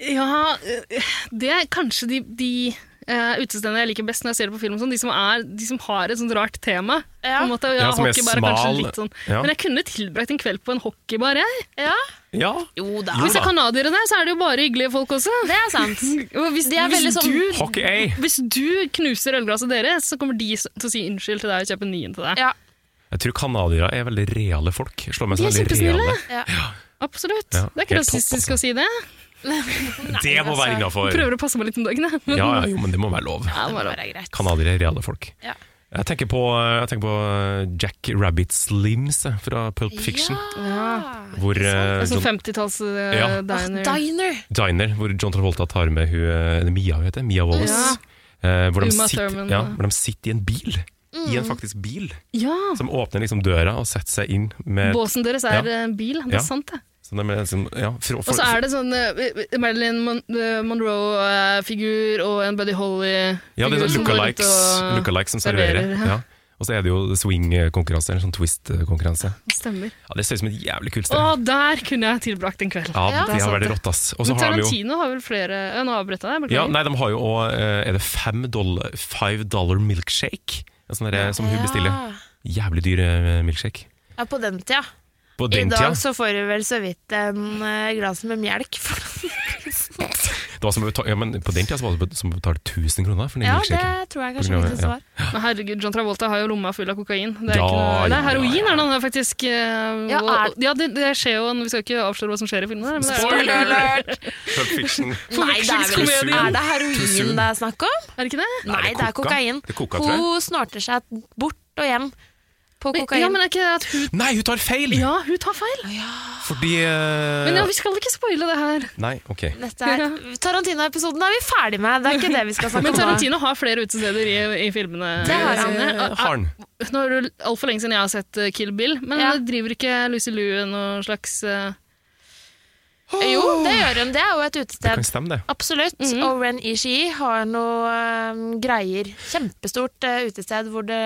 F: ja, øh, det er kanskje de, de eh, utestedene jeg liker best når jeg ser det på film, og sånn, de, som er, de som har et sånt rart tema.
D: Ja.
F: På en måte, og ja,
C: Ja, som er
F: hockeybar er kanskje
C: smal.
F: litt Sånn.
C: Ja.
F: Men jeg kunne tilbrakt en kveld på en hockeybar. Jeg.
C: Ja.
D: Jo da.
F: Hvis det
C: da.
F: er canadiere der, så er det jo bare hyggelige folk også.
D: Det er sant.
F: Og hvis,
D: De er veldig
F: hvis,
D: sånn-
F: du,
C: Hockey A!
F: hvis du knuser ølglasset deres, så kommer de s- til å si unnskyld til deg og kjøpe en ny en til deg.
D: Ja.
C: Jeg tror canadiere er veldig reale folk. Slår meg
F: De
C: som veldig
F: er kjempesnille.
C: reale.
F: Absolutt.
C: Ja,
F: det er ikke
C: helt topp,
F: rasistisk
C: altså.
F: å si det.
C: Det
D: altså,
C: må være innafor!
F: Prøver å passe meg litt om dagen. jeg. Men,
C: Ja, ja, jo, men det må være lov.
F: Ja, det må være
D: Det er greit.
C: Canadiere er reale folk.
D: Ja.
C: Jeg tenker, på, jeg tenker på eh, Jack Rabbit Slims jeg, fra Pulp Fiction. Hvor, eh,
D: Altså,
F: Sånn
C: John,
F: 50-talls-diner.
C: Ja.
D: Sånn Ah, Diner.
C: diner, hvor John Travolta tar med hun, eh, eller Mia, hun heter Mia Wallace. Eh, hvor, de
F: Uma
C: sitter,
F: Thurman,
C: ja,
F: ja. Mm.
C: hvor de sitter i en bil. I en faktisk bil.
F: Ja!
C: Som åpner liksom døra og setter seg inn med
F: Båsen deres er en bil, det
C: eh, Ja.
F: er sant det.
C: så de er liksom, ja, for,
F: Og så er det sånn eh, Marilyn Mon eh, Monroe-figur og en Buddy Holly-figur.
C: ja, det er
F: som går rundt
C: lookalikes,
F: og-
C: lookalikes som
F: serverer,
C: serverer.
F: ja.
C: Ja. Og så er det jo swing-konkurranse, eller sånn twist-konkurranse.
F: Stemmer.
C: Ja, Det ser ut som et jævlig kult
F: Å,
C: sted.
F: der kunne jeg tilbrakt en kveld.
C: Ja, det har vært rått, ass. Og så
F: Men
C: har de jo-
F: Tarantino har vel flere Ja, Nå avbrøt jeg deg. beklager.
C: Ja, nei, de har jo òg Er det fem dollar, five dollar milkshake? En sånn derre som hun
D: Ja.
C: bestiller. Jævlig dyr eh, milkshake.
D: Ja, på den tida.
C: På
D: I
C: den tida.
D: dag så får du vel så vidt en eh, glass med melk.
C: Det var som, å beta- ja, men på den tida så var det bet- som å betale 1000 kroner for den
D: ja,
C: milkshaken.
D: det tror jeg
C: På
D: kanskje
C: grunn av-
D: mitt svar.
F: Men herregud, John Travolta har jo lomma full av kokain. Det er,
C: Ja,
F: ikke noe, det
C: ja,
F: er heroin, er det han er faktisk. eh,
D: Ja,
F: og-
D: er-
F: ja det, det skjer jo, Vi skal ikke avsløre hva som skjer i filmen. her, Men det er,
D: Spoiler alert!
C: Pulp Fiction.
D: Nei, det er, vel,
C: Forvekslingskomedie.
D: er det
C: Too soon.
D: heroin det er snakk om?
F: er det ikke det?
D: Nei, det er
C: koka?
D: kokain.
C: Det er koka, tror jeg.
D: Hun snorter seg bort og hjem på
F: Men,
D: kokain.
F: ja, men er ikke det at hun
C: Nei, hun tar feil!
F: Ja, hun tar feil!
C: Fordi eh,
F: Men ja, vi skal ikke spoile det her.
C: Nei, ok.
D: Dette er Tarantino-episoden er vi ferdig med. Det er ikke det vi skal snakke
F: Men
D: om. nå.
F: Tarantino har flere utesteder i, i filmene.
D: Det har han.
F: sine.
C: Eh, Har den.
F: Nå er det altfor lenge siden jeg har sett eh, Kill Bill, men
D: Ja.
F: eh, driver ikke Lucy Lue noe slags eh,
D: Jo, det gjør hun. Det er jo et
C: Det kan
D: utested.
C: stemme, det.
D: Absolutt.
F: Mhm.
D: Og Ren Ishii har noe eh, greier. Kjempestort eh, utested hvor det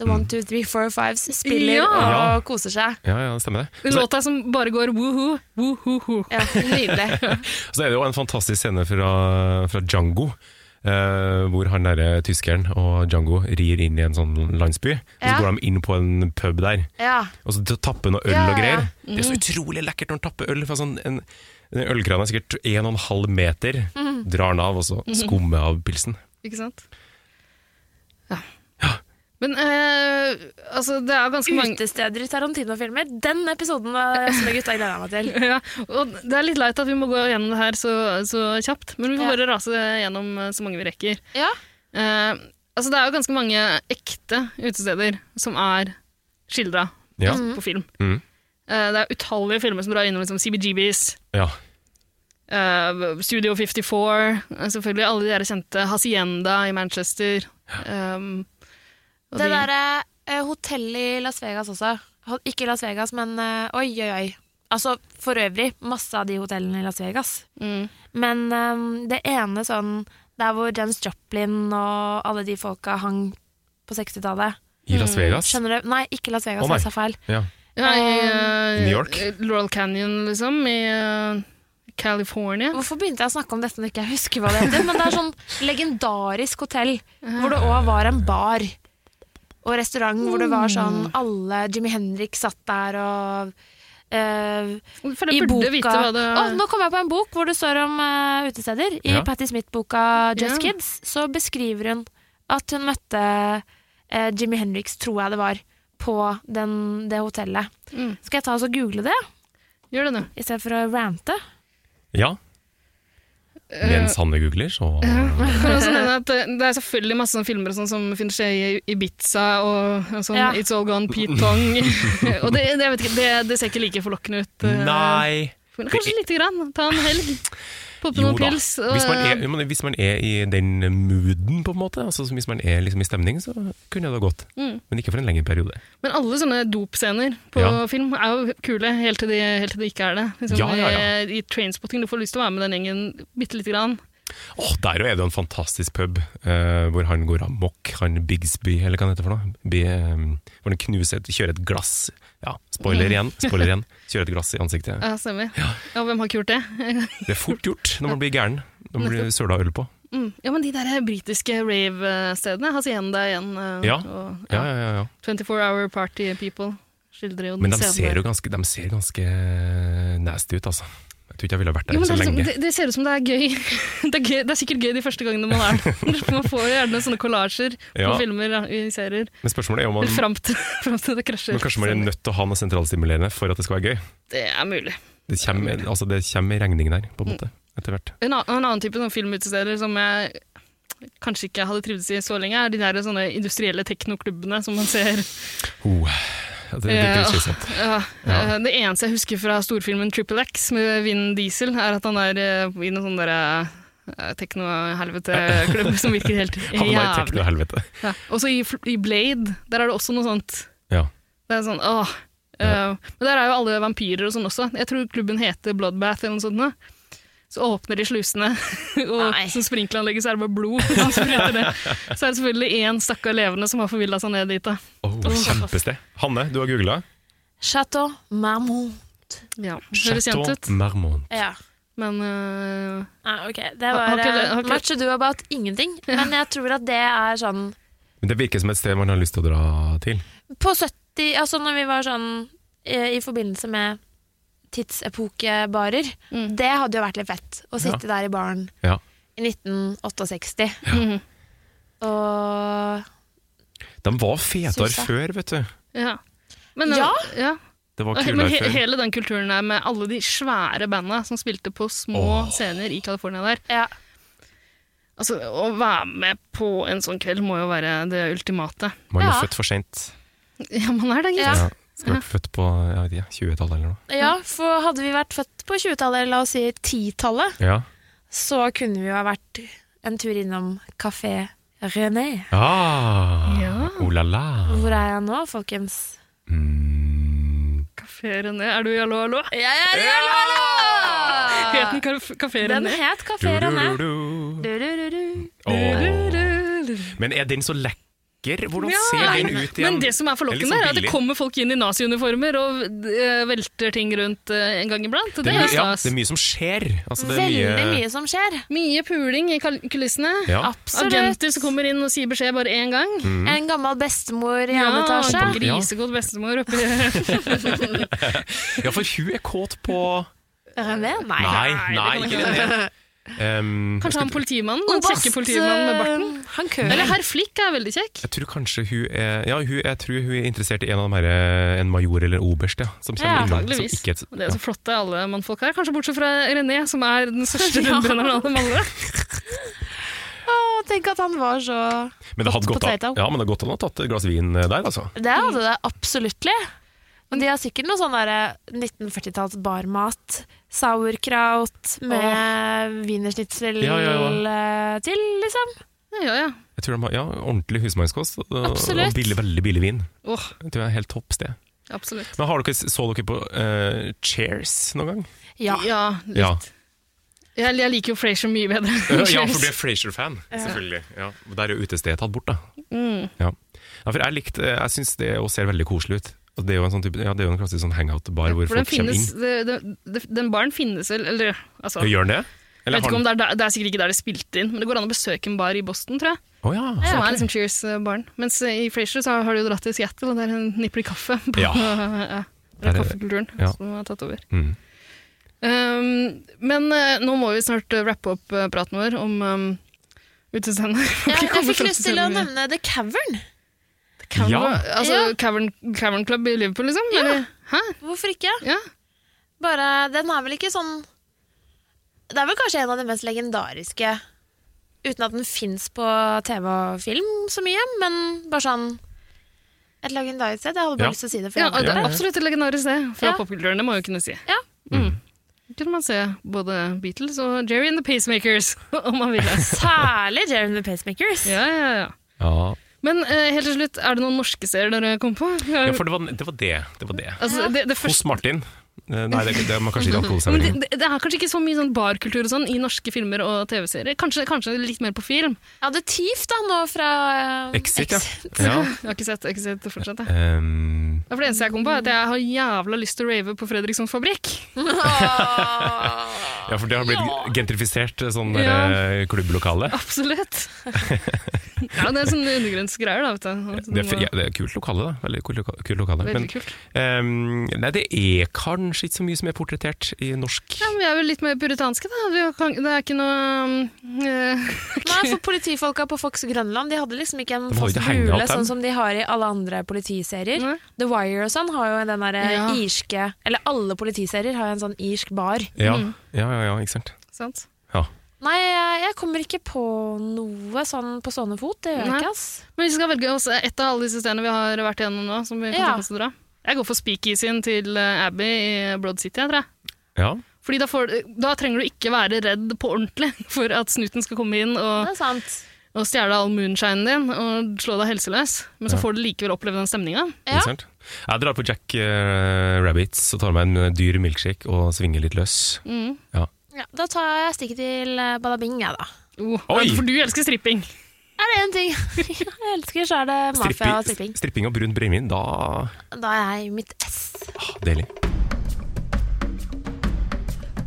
D: The One, Two, Three, Four, Fives spiller
F: Ja.
D: og koser seg.
C: Ja, ja, det stemmer det. Så,
F: låta som bare går woohoo, woohoo.
D: Ja, Nydelig.
C: så er det jo en fantastisk scene fra, fra Django. eh, hvor han derre tyskeren og Django rir inn i en sånn landsby. Og så
D: Ja.
C: går de inn på en pub der,
D: Ja.
C: og så tapper noe øl
D: Ja, ja,
C: og greier.
D: ja.
C: Det er så utrolig lekkert når han tapper øl. Fra sånn en, en ølkran er sikkert 1,5 meter. Drar den av, og så skummer av pilsen.
F: Ikke sant? Ja. Men eh, altså, det er ganske mange
D: Utesteder i Tarantino-filmer. Den episoden var som gutta gleda meg til.
F: ja, og Det er litt leit at vi må gå gjennom det her så, så kjapt, men vi får
D: Ja.
F: bare rase gjennom eh, så mange vi rekker.
D: Ja.
F: Eh, altså, det er jo ganske mange ekte utesteder som er skildra
C: Ja.
F: på film.
C: Mhm.
F: Eh, det er utallige filmer som drar innom liksom, CBGBs,
C: Ja.
F: eh, Studio 54, eh, selvfølgelig alle de der kjente Hacienda i Manchester. ehm, og
D: Det
F: de-
D: derre eh, hotellet i Las Vegas også. Ho- Ikke Las Vegas, men eh, oi, oi, oi. Altså for øvrig, masse av de hotellene i Las Vegas.
F: Mm.
D: Men eh, det ene sånn Der hvor James Joplin og alle de folka hang på 60-tallet.
C: I Las Vegas.
D: Skjønner du? Nei, ikke Las Vegas,
C: Å, nei.
D: jeg sa feil.
C: Ja.
F: Ja,
D: Um,
F: i, eh,
C: New York?
F: eh, Laurel Canyon, liksom, i eh, California.
D: Hvorfor begynte jeg å snakke om dette når ikke jeg husker hva det heter? Men det er sånn legendarisk hotell hvor det òg var en bar og restaurant hvor det var sånn alle Jimmy Henrik satt der og eh,
F: For
D: I
F: jeg
D: boka
F: burde vite hva det
D: Å, Nå kom jeg på en bok hvor det står om eh, utesteder. I
C: Ja.
D: Patti Smith-boka Just
F: Ja.
D: Kids så beskriver hun at hun møtte eh, Jimmy Henriks, tror jeg det var, på den, det hotellet.
F: Mm.
D: Skal jeg ta og så google det,
F: Gjør det nå.
D: i stedet for å rante?
C: ja. Mens han googler, så
F: For også nevne at eh, det er selvfølgelig masse sånne filmer og sånn som finner sted i Ibiza og og sånn
D: Ja.
F: It's All Gone Pete Tong. og det, det, jeg vet ikke, det, det ser ikke like forlokkende ut. eh,
C: Nei!
F: men Kanskje
C: det-
F: lite grann. Ta en helg, poppe
C: Jo
F: noen
C: da.
F: pils. og-
C: Hvis man, er, men hvis man er i den mooden, på en måte, altså hvis man er liksom i stemning, så kunne det ha gått.
F: Mm.
C: Men ikke for en lengre periode.
F: Men alle sånne dopscener på
C: Ja.
F: film er jo kule, helt til de, helt til de ikke er det. Liksom,
C: Ja, ja, ja.
F: I, I Trainspotting du får lyst til å være med den gjengen bitte lite grann.
C: Åh, Der er det jo en fantastisk pub eh, hvor han går amok, han Bigsby, eller hva han heter for noe. Bi- eh, hvor han knuser et, kjører et glass Ja, spoiler igjen, spoiler igjen. Kjører et glass i ansiktet.
F: Ja, stemmer. Ja. hvem har ikke gjort det?
C: Det er fort gjort når man blir gæren. Når man blir søla øl på.
F: Mm. Ja, men de der britiske rave-stedene, Hacienda igjen, eh,
C: Ja.
F: og
C: Ja, ja, ja, ja.
F: 24 Hour Party People skildrer jo den
C: Men de
F: scenen
C: ser
F: der.
C: jo ganske, de ser ganske nasty ut, altså. Jeg tror ikke jeg ville vært der
F: Jo, men det,
C: så
F: er liksom,
C: lenge.
F: det, det ser ut som det er gøy. Det er, gøy. det er sikkert gøy de første gangene man er der. Man får jo gjerne sånne kollasjer på
C: Ja.
F: filmer og i serier.
C: Men spørsmålet er om
F: Eller
C: man,
F: fram til, fram til det krasjer.
C: men kanskje man er nødt til å ha noe sentralstimulerende for at det skal være gøy.
F: Det er mulig.
C: Det kommer, altså det kommer i regning der, på en måte,
F: Mm.
C: etter hvert.
F: En annen, en annen type sånn filmutesteder som jeg kanskje ikke hadde trivdes i så lenge, er de der sånne industrielle teknoklubbene som man ser.
C: Oh, det, det,
F: Ja.
C: er grusomt.
F: Ja.
C: Ja.
F: eh, Det eneste jeg husker fra storfilmen Triple X med Vin Diesel, er at han er eh, i noen sånn derre eh, Tekno-helvete-klubb som virker helt
C: Han var i
F: jævlig.
C: teknohelvete.
F: Ja. Også i, Fl- i Blade, der er det også noe sånt.
C: Ja.
F: Det er sånn, åh. Eh, men der er jo alle vampyrer og sånn også. Jeg tror klubben heter Bloodbath eller noe sånt. nå. Så åpner de slusene, og som sprinkleranlegget så er det bare blod. som spretter ned. Så er det selvfølgelig én stakkar levende som har forvilla seg ned dit. da.
C: Oh, kjempested. Hanne, du har googla.
D: Chateau Marmont.
F: Ja, Høres kjent ut.
C: Marmont.
D: Ja.
F: Men øh,
D: Nei, ok. Det
F: Har
D: var
F: ikke det-
D: eh,
F: har ikke-
D: much ado about ingenting. Men jeg tror at det er sånn
C: Men Det virker som et sted man har lyst til å dra til.
D: På 70 Altså når vi var sånn eh, i forbindelse med tidsepokebarer.
F: mm.
D: Det hadde jo vært litt fett. Å sitte der i baren
C: Ja.
D: i 1968.
F: Mhm.
D: Og
C: De var fetere
D: Syns jeg.
C: før, vet du.
F: ja. Men, øh,
D: Ja?
F: ja.
C: Det var
F: Men
C: kulere
F: he
C: før.
F: hele den kulturen der med alle de svære banda som spilte på små scener i California der.
D: Ja.
F: Altså, Å være med på en sånn kveld må jo være det ultimate.
C: Man er
D: Ja.
C: født for seint.
F: Ja, man er det, gitt.
D: Ja.
C: Ja. Skal vært født på jeg vet ikke, 20-tallet eller noe.
D: ja, for hadde vi vært født på 20-tallet, eller la oss si 10-tallet,
C: Ja.
D: så kunne vi jo ha vært en tur innom Café René.
C: Ah,
F: Ja.
C: Oh la la.
D: Hvor er jeg nå, folkens?
C: Mm.
F: Kafé René. Er du i Hallo, hallo?
D: Ja, ja, ja, hallo!
F: Het den Kaf- Kafé
D: Den
F: René?
D: het
C: Du,
D: Café
C: du,
D: René.
C: du, du.
D: Du, du, du, du.
C: Åh.
F: Du-du-du.
C: Men er den så lekker? Hvordan ser den ut igjen?
F: Men det som er forlokkende,
C: Det er litt sånn
F: er at det
C: billig.
F: kommer folk inn i naziuniformer og eh, velter ting rundt eh, en gang iblant. Det,
C: det er,
F: er
C: mye, ja,
F: stas.
C: det er mye som skjer. Altså, det er
D: Veldig
C: mye,
D: mye som skjer.
F: Mye puling i kal- kulissene.
C: Ja.
D: Absolutt.
F: Agenter som kommer inn og sier beskjed bare én gang.
C: Mm.
D: En gammel bestemor i
F: Ja,
D: andre etasje.
F: på Grisegod bestemor oppi
C: ja, for hun er kåt på
D: René? Nei.
C: Nei, nei,
F: det kan
C: ikke
F: jeg
C: det. Um, jeg,
F: Kanskje han
C: skulle,
F: politimannen?
D: Og
F: Den kjekke
D: Bast,
F: politimannen med barten?
D: eh, Han kører.
F: Eller herr Flikk er veldig kjekk.
C: jeg tror kanskje hun er Ja, hun, jeg tror hun er interessert i en av de her eh, En major eller oberst, ja. Som
D: Ja,
C: kommer innom. Som
F: antageligvis.
C: ikke et,
F: Og Det er så flotte alle mannfolk her, kanskje bortsett fra René, som er den største rundbrenneren av dem alle.
D: Å, tenk at han var så
C: ja. Men det hadde
D: Hot
C: gått an
D: potato.
C: ja, men det hadde gått an å ha tatt et glass vin eh, der, altså.
D: Det hadde det absoluttlig. Men de har sikkert noe sånn derre 1940-talls barmat. Sauerkraut med wienersnitzel
C: Ja, ja,
D: eh, til, liksom.
F: Ja, ja.
C: Jeg tror de har, ja, Ordentlig husmannskost og,
D: Absolutt.
C: og billig, veldig billig vin.
F: Åh,
C: Det tror jeg er helt topp sted.
F: absolutt.
C: Men har dere, Så dere på eh, Cheers noen gang?
D: Ja.
F: Ja, litt.
C: Ja.
F: Jeg, jeg liker jo Frasier mye bedre. enn
C: Ja, for
F: Cheers.
C: du er Frasier-fan, selvfølgelig. Ja. og Der er jo utestedet tatt bort, da.
F: Mm.
C: Ja. ja, for jeg likte, eh, jeg syns det også ser veldig koselig ut. Og det er jo en sånn type, ja, det er jo en klassisk sånn hangout-bar hvor
F: For den,
C: folk kommer
F: finnes,
C: inn.
F: det- det- det- den baren finnes vel eller, altså,
C: Gjør den det?
F: jeg vet ikke om
C: det
F: det, er, der- det er sikkert ikke der det er spilt inn, men det går an å besøke en bar i Boston, tror jeg.
C: Å ja.
F: Som er liksom Cheers-baren. Mens eh, i Frasier så har de jo dratt til Seattle, og der nipper de kaffe. På,
C: Ja.
F: ja. Det
C: Der
F: er
C: er-
F: kaffekulturen
C: ja.
F: som har tatt over.
C: Mm.
F: Um, men eh, nå må vi snart eh, wrappe opp eh, praten vår om um, utestedene.
D: Jeg, jeg fikk lyst til å nevne The Cavern.
F: Cavern,
C: Ja.
F: altså,
D: Ja.
F: Cavern, Cavern Club i Liverpool, liksom?
D: Ja.
F: Eller? Hæ?
D: Hvorfor ikke?
F: Ja.
D: Bare, den er vel ikke sånn Det er vel kanskje en av de mest legendariske Uten at den fins på TV og film så mye, men bare sånn Et legendarisk sted. Jeg hadde
C: Ja.
D: bare lyst til å si det. For
F: ja,
D: jeg hadde-
F: det er absolutt et legendarisk sted fra
D: Ja.
F: popkulturen, det må jeg jo kunne si.
D: Ja.
F: Mm. Kunne man se både Beatles og Jerry and the Pacemakers, om man ville.
D: Særlig Jerry and the Pacemakers.
F: Ja, ja, ja.
C: ja.
F: Men eh, helt til slutt, er det noen norske steder dere kom på?
C: ja, for det var det. Var det, det, var det.
F: altså, det, det
C: Hos
F: første...
C: Martin. Eh, Nei, det, det må kanskje ikke
F: Men det,
C: alkoholservering.
F: det, det er kanskje ikke så mye sånn barkultur og sånn i norske filmer og TV-serier. Kanskje, kanskje litt mer på film.
D: Jeg hadde Thief da, nå fra eh,
C: Exit, ja. ja.
F: Jeg har ikke sett, jeg har ikke sett det fortsatt. Jeg.
C: Um,
F: Det er for det eneste jeg kom på, er at jeg har jævla lyst til å rave på Fredrikssons fabrikk.
C: ja, for det har blitt gentrifisert, sånn der,
F: Ja.
C: eh, klubblokale.
F: Absolutt. ja, det er sånne undergrunnsgreier, da. vet du.
C: Det er, f- ja, det er kult lokale, da. Veldig kult loka- kult lokale.
F: Sånn Veldig
C: Men,
F: kult.
C: ehm, nei, det er kanskje ikke så mye som er portrettert i norsk
F: Ja, men vi er vel litt mer puritanske, da. Vi kan, det er ikke noe um, eh,
D: Nei, for Politifolka på Fox Grønland De hadde liksom ikke en
C: De har
D: fast
C: ikke hangout,
D: hule,
C: dem.
D: sånn som de har i alle andre politiserier.
F: Nei.
D: The Wire og sånn har jo den derre
F: Mm. Ja.
D: irske Eller alle politiserier har jo en sånn irsk bar.
C: Ja,
F: Mm.
C: ja, ja, ja ikke sant.
F: Sant?
C: Ja.
D: Nei, jeg, jeg kommer ikke på noe sånn på stående fot. Det gjør
F: Nei.
D: jeg ikke, ass.
F: Men vi skal velge oss et av alle disse stedene vi har vært igjennom nå, som vi kan
D: Ja.
F: tenke oss å dra. Jeg går for speakeasyen til eh, Abbey i Broad City, jeg tror jeg.
C: Ja.
F: Fordi da, får, da trenger du ikke være redd på ordentlig for at snuten skal komme inn og,
D: Det er sant.
F: og stjele all moonshinen din og slå deg helseløs. Men så får du likevel oppleve den stemninga.
D: Ja.
C: Ikke sant? Jeg drar på Jack eh, Rabbits og tar meg en eh, dyr milkshake og svinger litt løs. Ja.
D: Ja, Ja, da tar jeg stikket til eh, Badabing, jeg, da.
C: Oi!
F: For du elsker stripping.
D: Er det én ting jeg elsker, så er det mafia og stripping.
C: Strippi- Stripping og brunt brennevin, da
D: Da er jeg i mitt ess.
C: Deilig.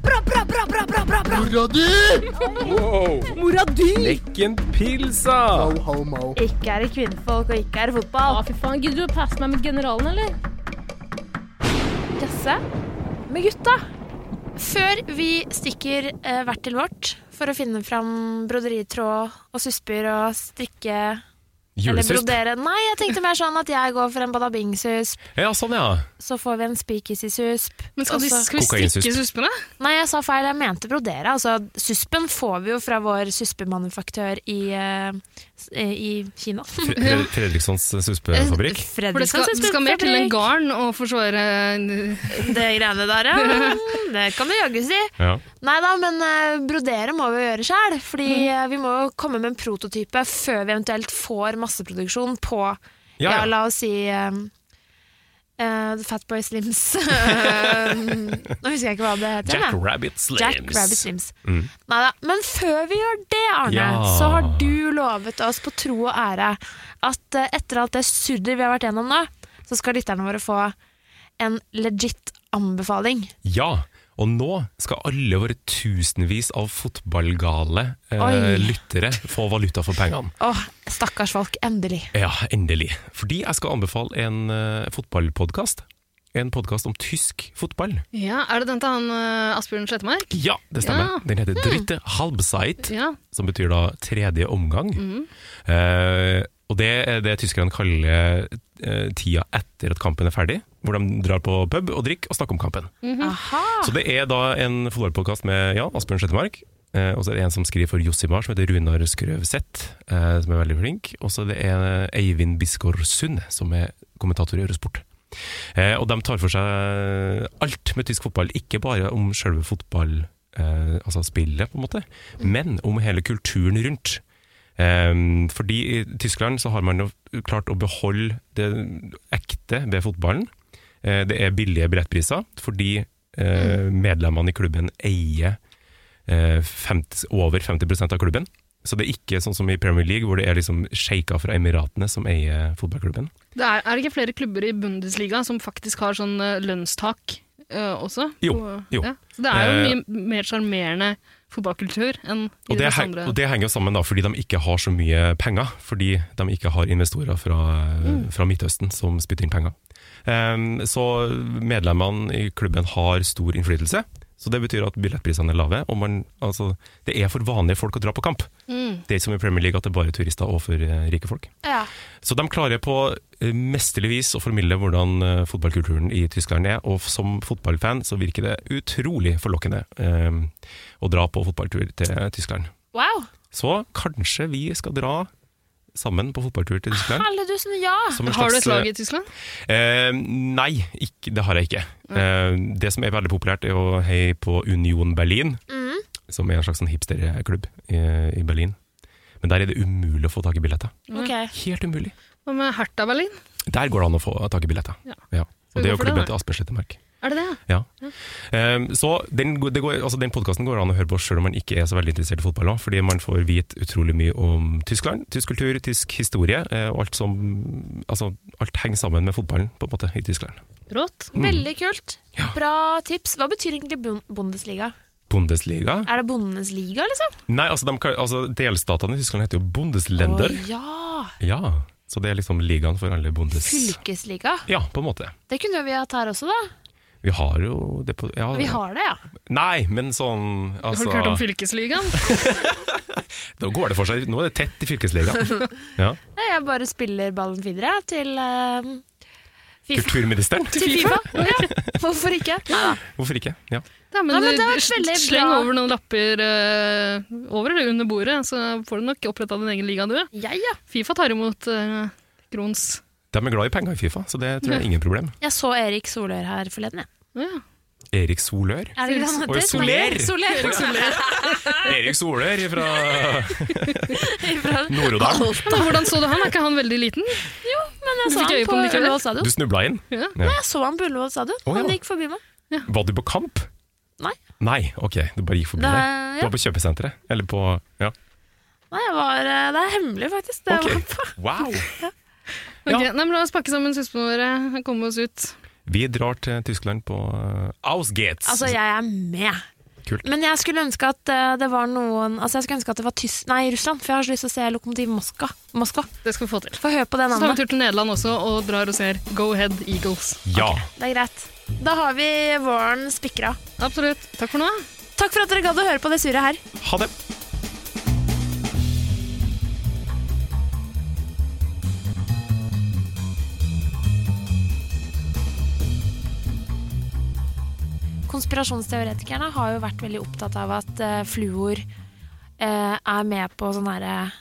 J: Bra, bra, bra, bra, bra, bra, bra.
C: Mora di! Wow.
J: Mora di!
C: Lekkenpilsa!
K: Ikke er det kvinnfolk, og ikke er det fotball. Å, fy faen. Gidder du å passe meg med generalen, eller?
D: Jasse med gutta. Før vi stikker eh, hvert til vårt for å finne fram broderitråd og susper og strikke Eller
C: Julesust.
D: brodere. Nei, jeg tenkte mer sånn at jeg går for en badabing-susp,
C: Ja, sånn, ja.
D: så får vi en speakeasy-susp.
F: Men skal,
D: og
F: de,
D: så-
F: skal vi
C: Kokainsusp.
F: strikke suspene?
D: Nei, jeg sa feil. Jeg mente brodere. Altså, suspen får vi jo fra vår suspemanufactør i, eh, s- eh, i Kina.
C: Fre- Fre- Fredrikssons suspefabrikk.
D: Eh,
F: For det skal, det skal mer til enn garn å forsvare
D: Det greiene der, ja. Det kan du jaggu si.
C: Ja.
D: Nei da, men eh, brodere må vi jo gjøre sjøl. Fordi eh, vi må jo komme med en prototype før vi eventuelt får masseproduksjon på
J: Ja,
D: Ja,
J: ja.
D: la oss si um, uh, Fatboy Slims. Eh, Nå husker jeg ikke hva det heter.
C: Jack
D: jeg.
C: Rabbit Slims.
D: Jack Rabbit Slims.
C: Mm.
D: Neida. Men før vi gjør det, Arne,
C: Ja.
D: så har du lovet oss på tro og ære at eh, etter alt det surret vi har vært gjennom nå, så skal lytterne våre få en legit anbefaling.
C: ja. Og nå skal alle våre tusenvis av fotballgale eh,
D: Oi.
C: lyttere få valuta for pengene.
D: Åh, stakkars folk, endelig.
C: Ja, endelig. Fordi jeg skal anbefale en uh, fotballpodkast. En podkast om tysk fotball.
F: Ja, Er det den til han eh, Asbjørn Slettemark?
C: Ja, det stemmer.
F: Ja.
C: Den heter
F: Mm.
C: Dritte Halbzeit,
F: Ja.
C: som betyr da tredje omgang.
F: Mm.
C: Eh, og det er det tyskerne kaller eh, tida etter at kampen er ferdig, hvor de drar på pub og drikker og snakker om kampen.
D: Aha.
C: Så det er da en fotballpodkast med ja, Asbjørn Slettemark. eh, og så er det en som skriver for Jossimar, som heter Runar Skrøvseth, eh, som er veldig flink. Og så er det en Eivind Bisgaard Sund, som er kommentator i Eurosport. Eh, og de tar for seg alt med tysk fotball, ikke bare om selve fotball, eh, altså spillet, på en måte, men om hele kulturen rundt. Ehm, fordi i Tyskland så har man jo klart å beholde det ekte ved fotballen. Eh, det er billige billettpriser fordi eh, medlemmene i klubben eier eh, 50, over 50 av klubben. Så det er ikke sånn som i Premier League, hvor det er liksom sjeiker fra Emiratene som eier fotballklubben.
F: Det er, er det ikke flere klubber i Bundesliga som faktisk har sånn eh, lønnstak eh, også?
C: Jo,
F: På-
C: jo.
F: Ja. Så det er jo
C: Eh,
F: mye mer sjarmerende fotballkultur enn i
C: Og det,
F: de
C: heng,
F: andre.
C: og det henger jo sammen da, fordi de ikke har så mye penger, fordi de ikke har investorer fra, fra Midtøsten som spytter inn penger. Ehm, så medlemmene i klubben har stor innflytelse, så det betyr at billettprisene er lave, og man, altså, det er for vanlige folk å dra på kamp.
D: Mm.
C: Det er ikke som i Premier League at det er bare turister og for eh, rike folk.
D: Ja.
C: Så de klarer på eh, mesterlig vis å formidle hvordan eh, fotballkulturen i Tyskland er, og som fotballfan så virker det utrolig forlokkende eh, å dra på fotballtur til Tyskland.
D: Wow!
C: Så kanskje vi skal dra sammen på fotballtur til Tyskland.
D: Halledusen, ja!
C: Som en Har du slags, et lag i eh,
F: Tyskland?
C: Eh, nei, ikke, det har jeg ikke. Eh, det som er veldig populært, er å heie på Union Berlin,
D: Mm.
C: som er en slags sånn hipsterklubb i, i Berlin. Men der er det umulig å få tak i billetter. Helt umulig.
F: Hva med Hertha Berlin?
C: Der går det an å få tak i billetter.
F: Ja.
C: Ja.
F: vi
C: Og det er
F: gå
C: jo
F: for det,
C: klubben
F: da?
C: til Asbjørn Slettemark.
F: Er det det?
C: Ja. Ehm, så den, det går, altså den podkasten går an å høre på selv om man ikke er så veldig interessert i fotball òg, fordi man får vite utrolig mye om Tyskland, tysk kultur, tysk historie, eh, og alt som Altså, alt henger sammen med fotballen, på en måte, i Tyskland.
D: Rått.
C: Mm.
D: Veldig kult. Bra tips. Hva betyr egentlig Bun- Bundesliga?
C: Bundesliga
D: Er det Bondenes liga, liksom?
C: Nei, altså, de, kan- altså delstatene i Tyskland heter jo Bundesländer.
D: Å, ja.
C: Ja, så det er liksom ligaen for alle bundes...
D: Fylkesliga.
C: Ja, på en måte.
D: Det kunne vi hatt her også, da.
C: Vi har jo det på ja.
D: Vi har det, ja.
C: Nei, men sånn altså,
F: Har du ikke hørt om fylkesligaen?
C: Da går det for seg. Nå er det tett i fylkesligaen. Ja.
D: Nei, Jeg bare spiller ballen videre til eh, FIFA.
C: Kulturministeren?
D: Til FIFA. Ja, hvorfor ikke? Neida.
C: Hvorfor ikke? Ja.
F: Ja, men,
D: Nei, men
F: du-
D: det har vært veldig
F: Sleng
D: bra.
F: over noen lapper eh, over eller under bordet, så får du nok oppretta din egen liga, du. Fifa tar imot eh, Grons.
C: De er glad i penger i Fifa, så det tror jeg er ingen problem.
D: Jeg så Erik Solør her forleden, jeg.
C: Erik Solør?
D: Er det ikke han
C: Å,
D: heter?
C: Soler!
D: Soler!
C: Erik Solør. Erik Solør fra Nord-Odal.
F: Men Hvordan så du han? Er ikke han veldig liten? Jo,
D: men jeg
F: Du
D: så
F: fikk øye
D: han
F: på
D: på
F: den likevel.
D: Ullevål stadion.
C: Du snubla inn?
D: Ja.
C: Ja.
D: Nei, jeg så han på Ullevål stadion.
C: Å, ja.
D: Han gikk forbi meg.
C: Var du på kamp?
D: Nei.
C: Nei, ok, det bare gikk forbi
D: Det-
C: deg.
D: ja.
C: Du var på kjøpesenteret? Eller på Ja.
D: Nei, jeg var, eh, det er hemmelig, faktisk. Det jeg var på.
C: Wow!
F: Ok, nei, men La oss pakke sammen søsknene våre og komme oss ut.
C: Vi drar til Tyskland på eh, Ausgates.
D: Altså, jeg er med.
C: Kult.
D: Men jeg skulle ønske at eh, det var noen Altså, jeg skulle ønske at det var Tys nei, Russland, for jeg har så lyst til å se Lokomotiv Moskva. Moskva.
F: Det skal vi få til.
D: Få høre på det
F: Så tar vi en
D: navnet.
F: tur til Nederland også og drar og ser Go Ahead Eagles.
C: Ja.
D: Det er greit. Da har vi våren spikra.
F: Absolutt. Takk for nå.
D: Takk for at dere gadd å høre på det surret her.
C: Ha det!
D: Konspirasjonsteoretikerne har jo vært veldig opptatt av at eh, fluor eh, er med på sånn herre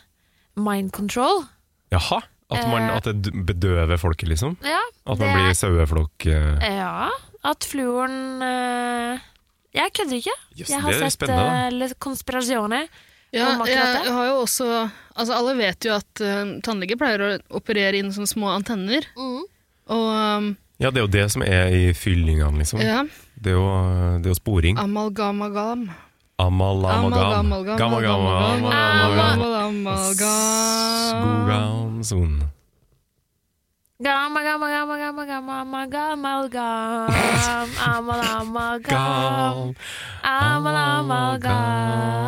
D: mind control.
C: Jaha? At, man,
D: Eh.
C: at det d- bedøver folket, liksom?
D: Ja,
C: At
D: det
C: man
D: er-
C: blir saueflokk? eh,
D: Ja, at fluoren eh, Jeg kødder ikke.
C: Jøss,
D: jeg har
C: det er
D: sett
C: spennende,
D: eh, Le Conspirazione
F: Ja,
D: om
F: jeg
D: akkurat det.
F: har jo også Altså, alle vet jo at uh, tannleger pleier å operere inn sånne små antenner.
D: Mm.
F: Og um,
C: Ja, det er jo det som er i fyllingene, liksom.
F: Ja.
C: Det, er jo, det er jo sporing.
F: amalgamagam.
C: Amalamagan.
F: Amalgam,
C: Gamagam,
F: amalgam,
C: amalamagan.
F: Amalgamagam.
C: Skoganson.
D: Gamma, gamma, gamma, gamma, gamma, gamma, gamma, amalgam, amalgam, amalgam.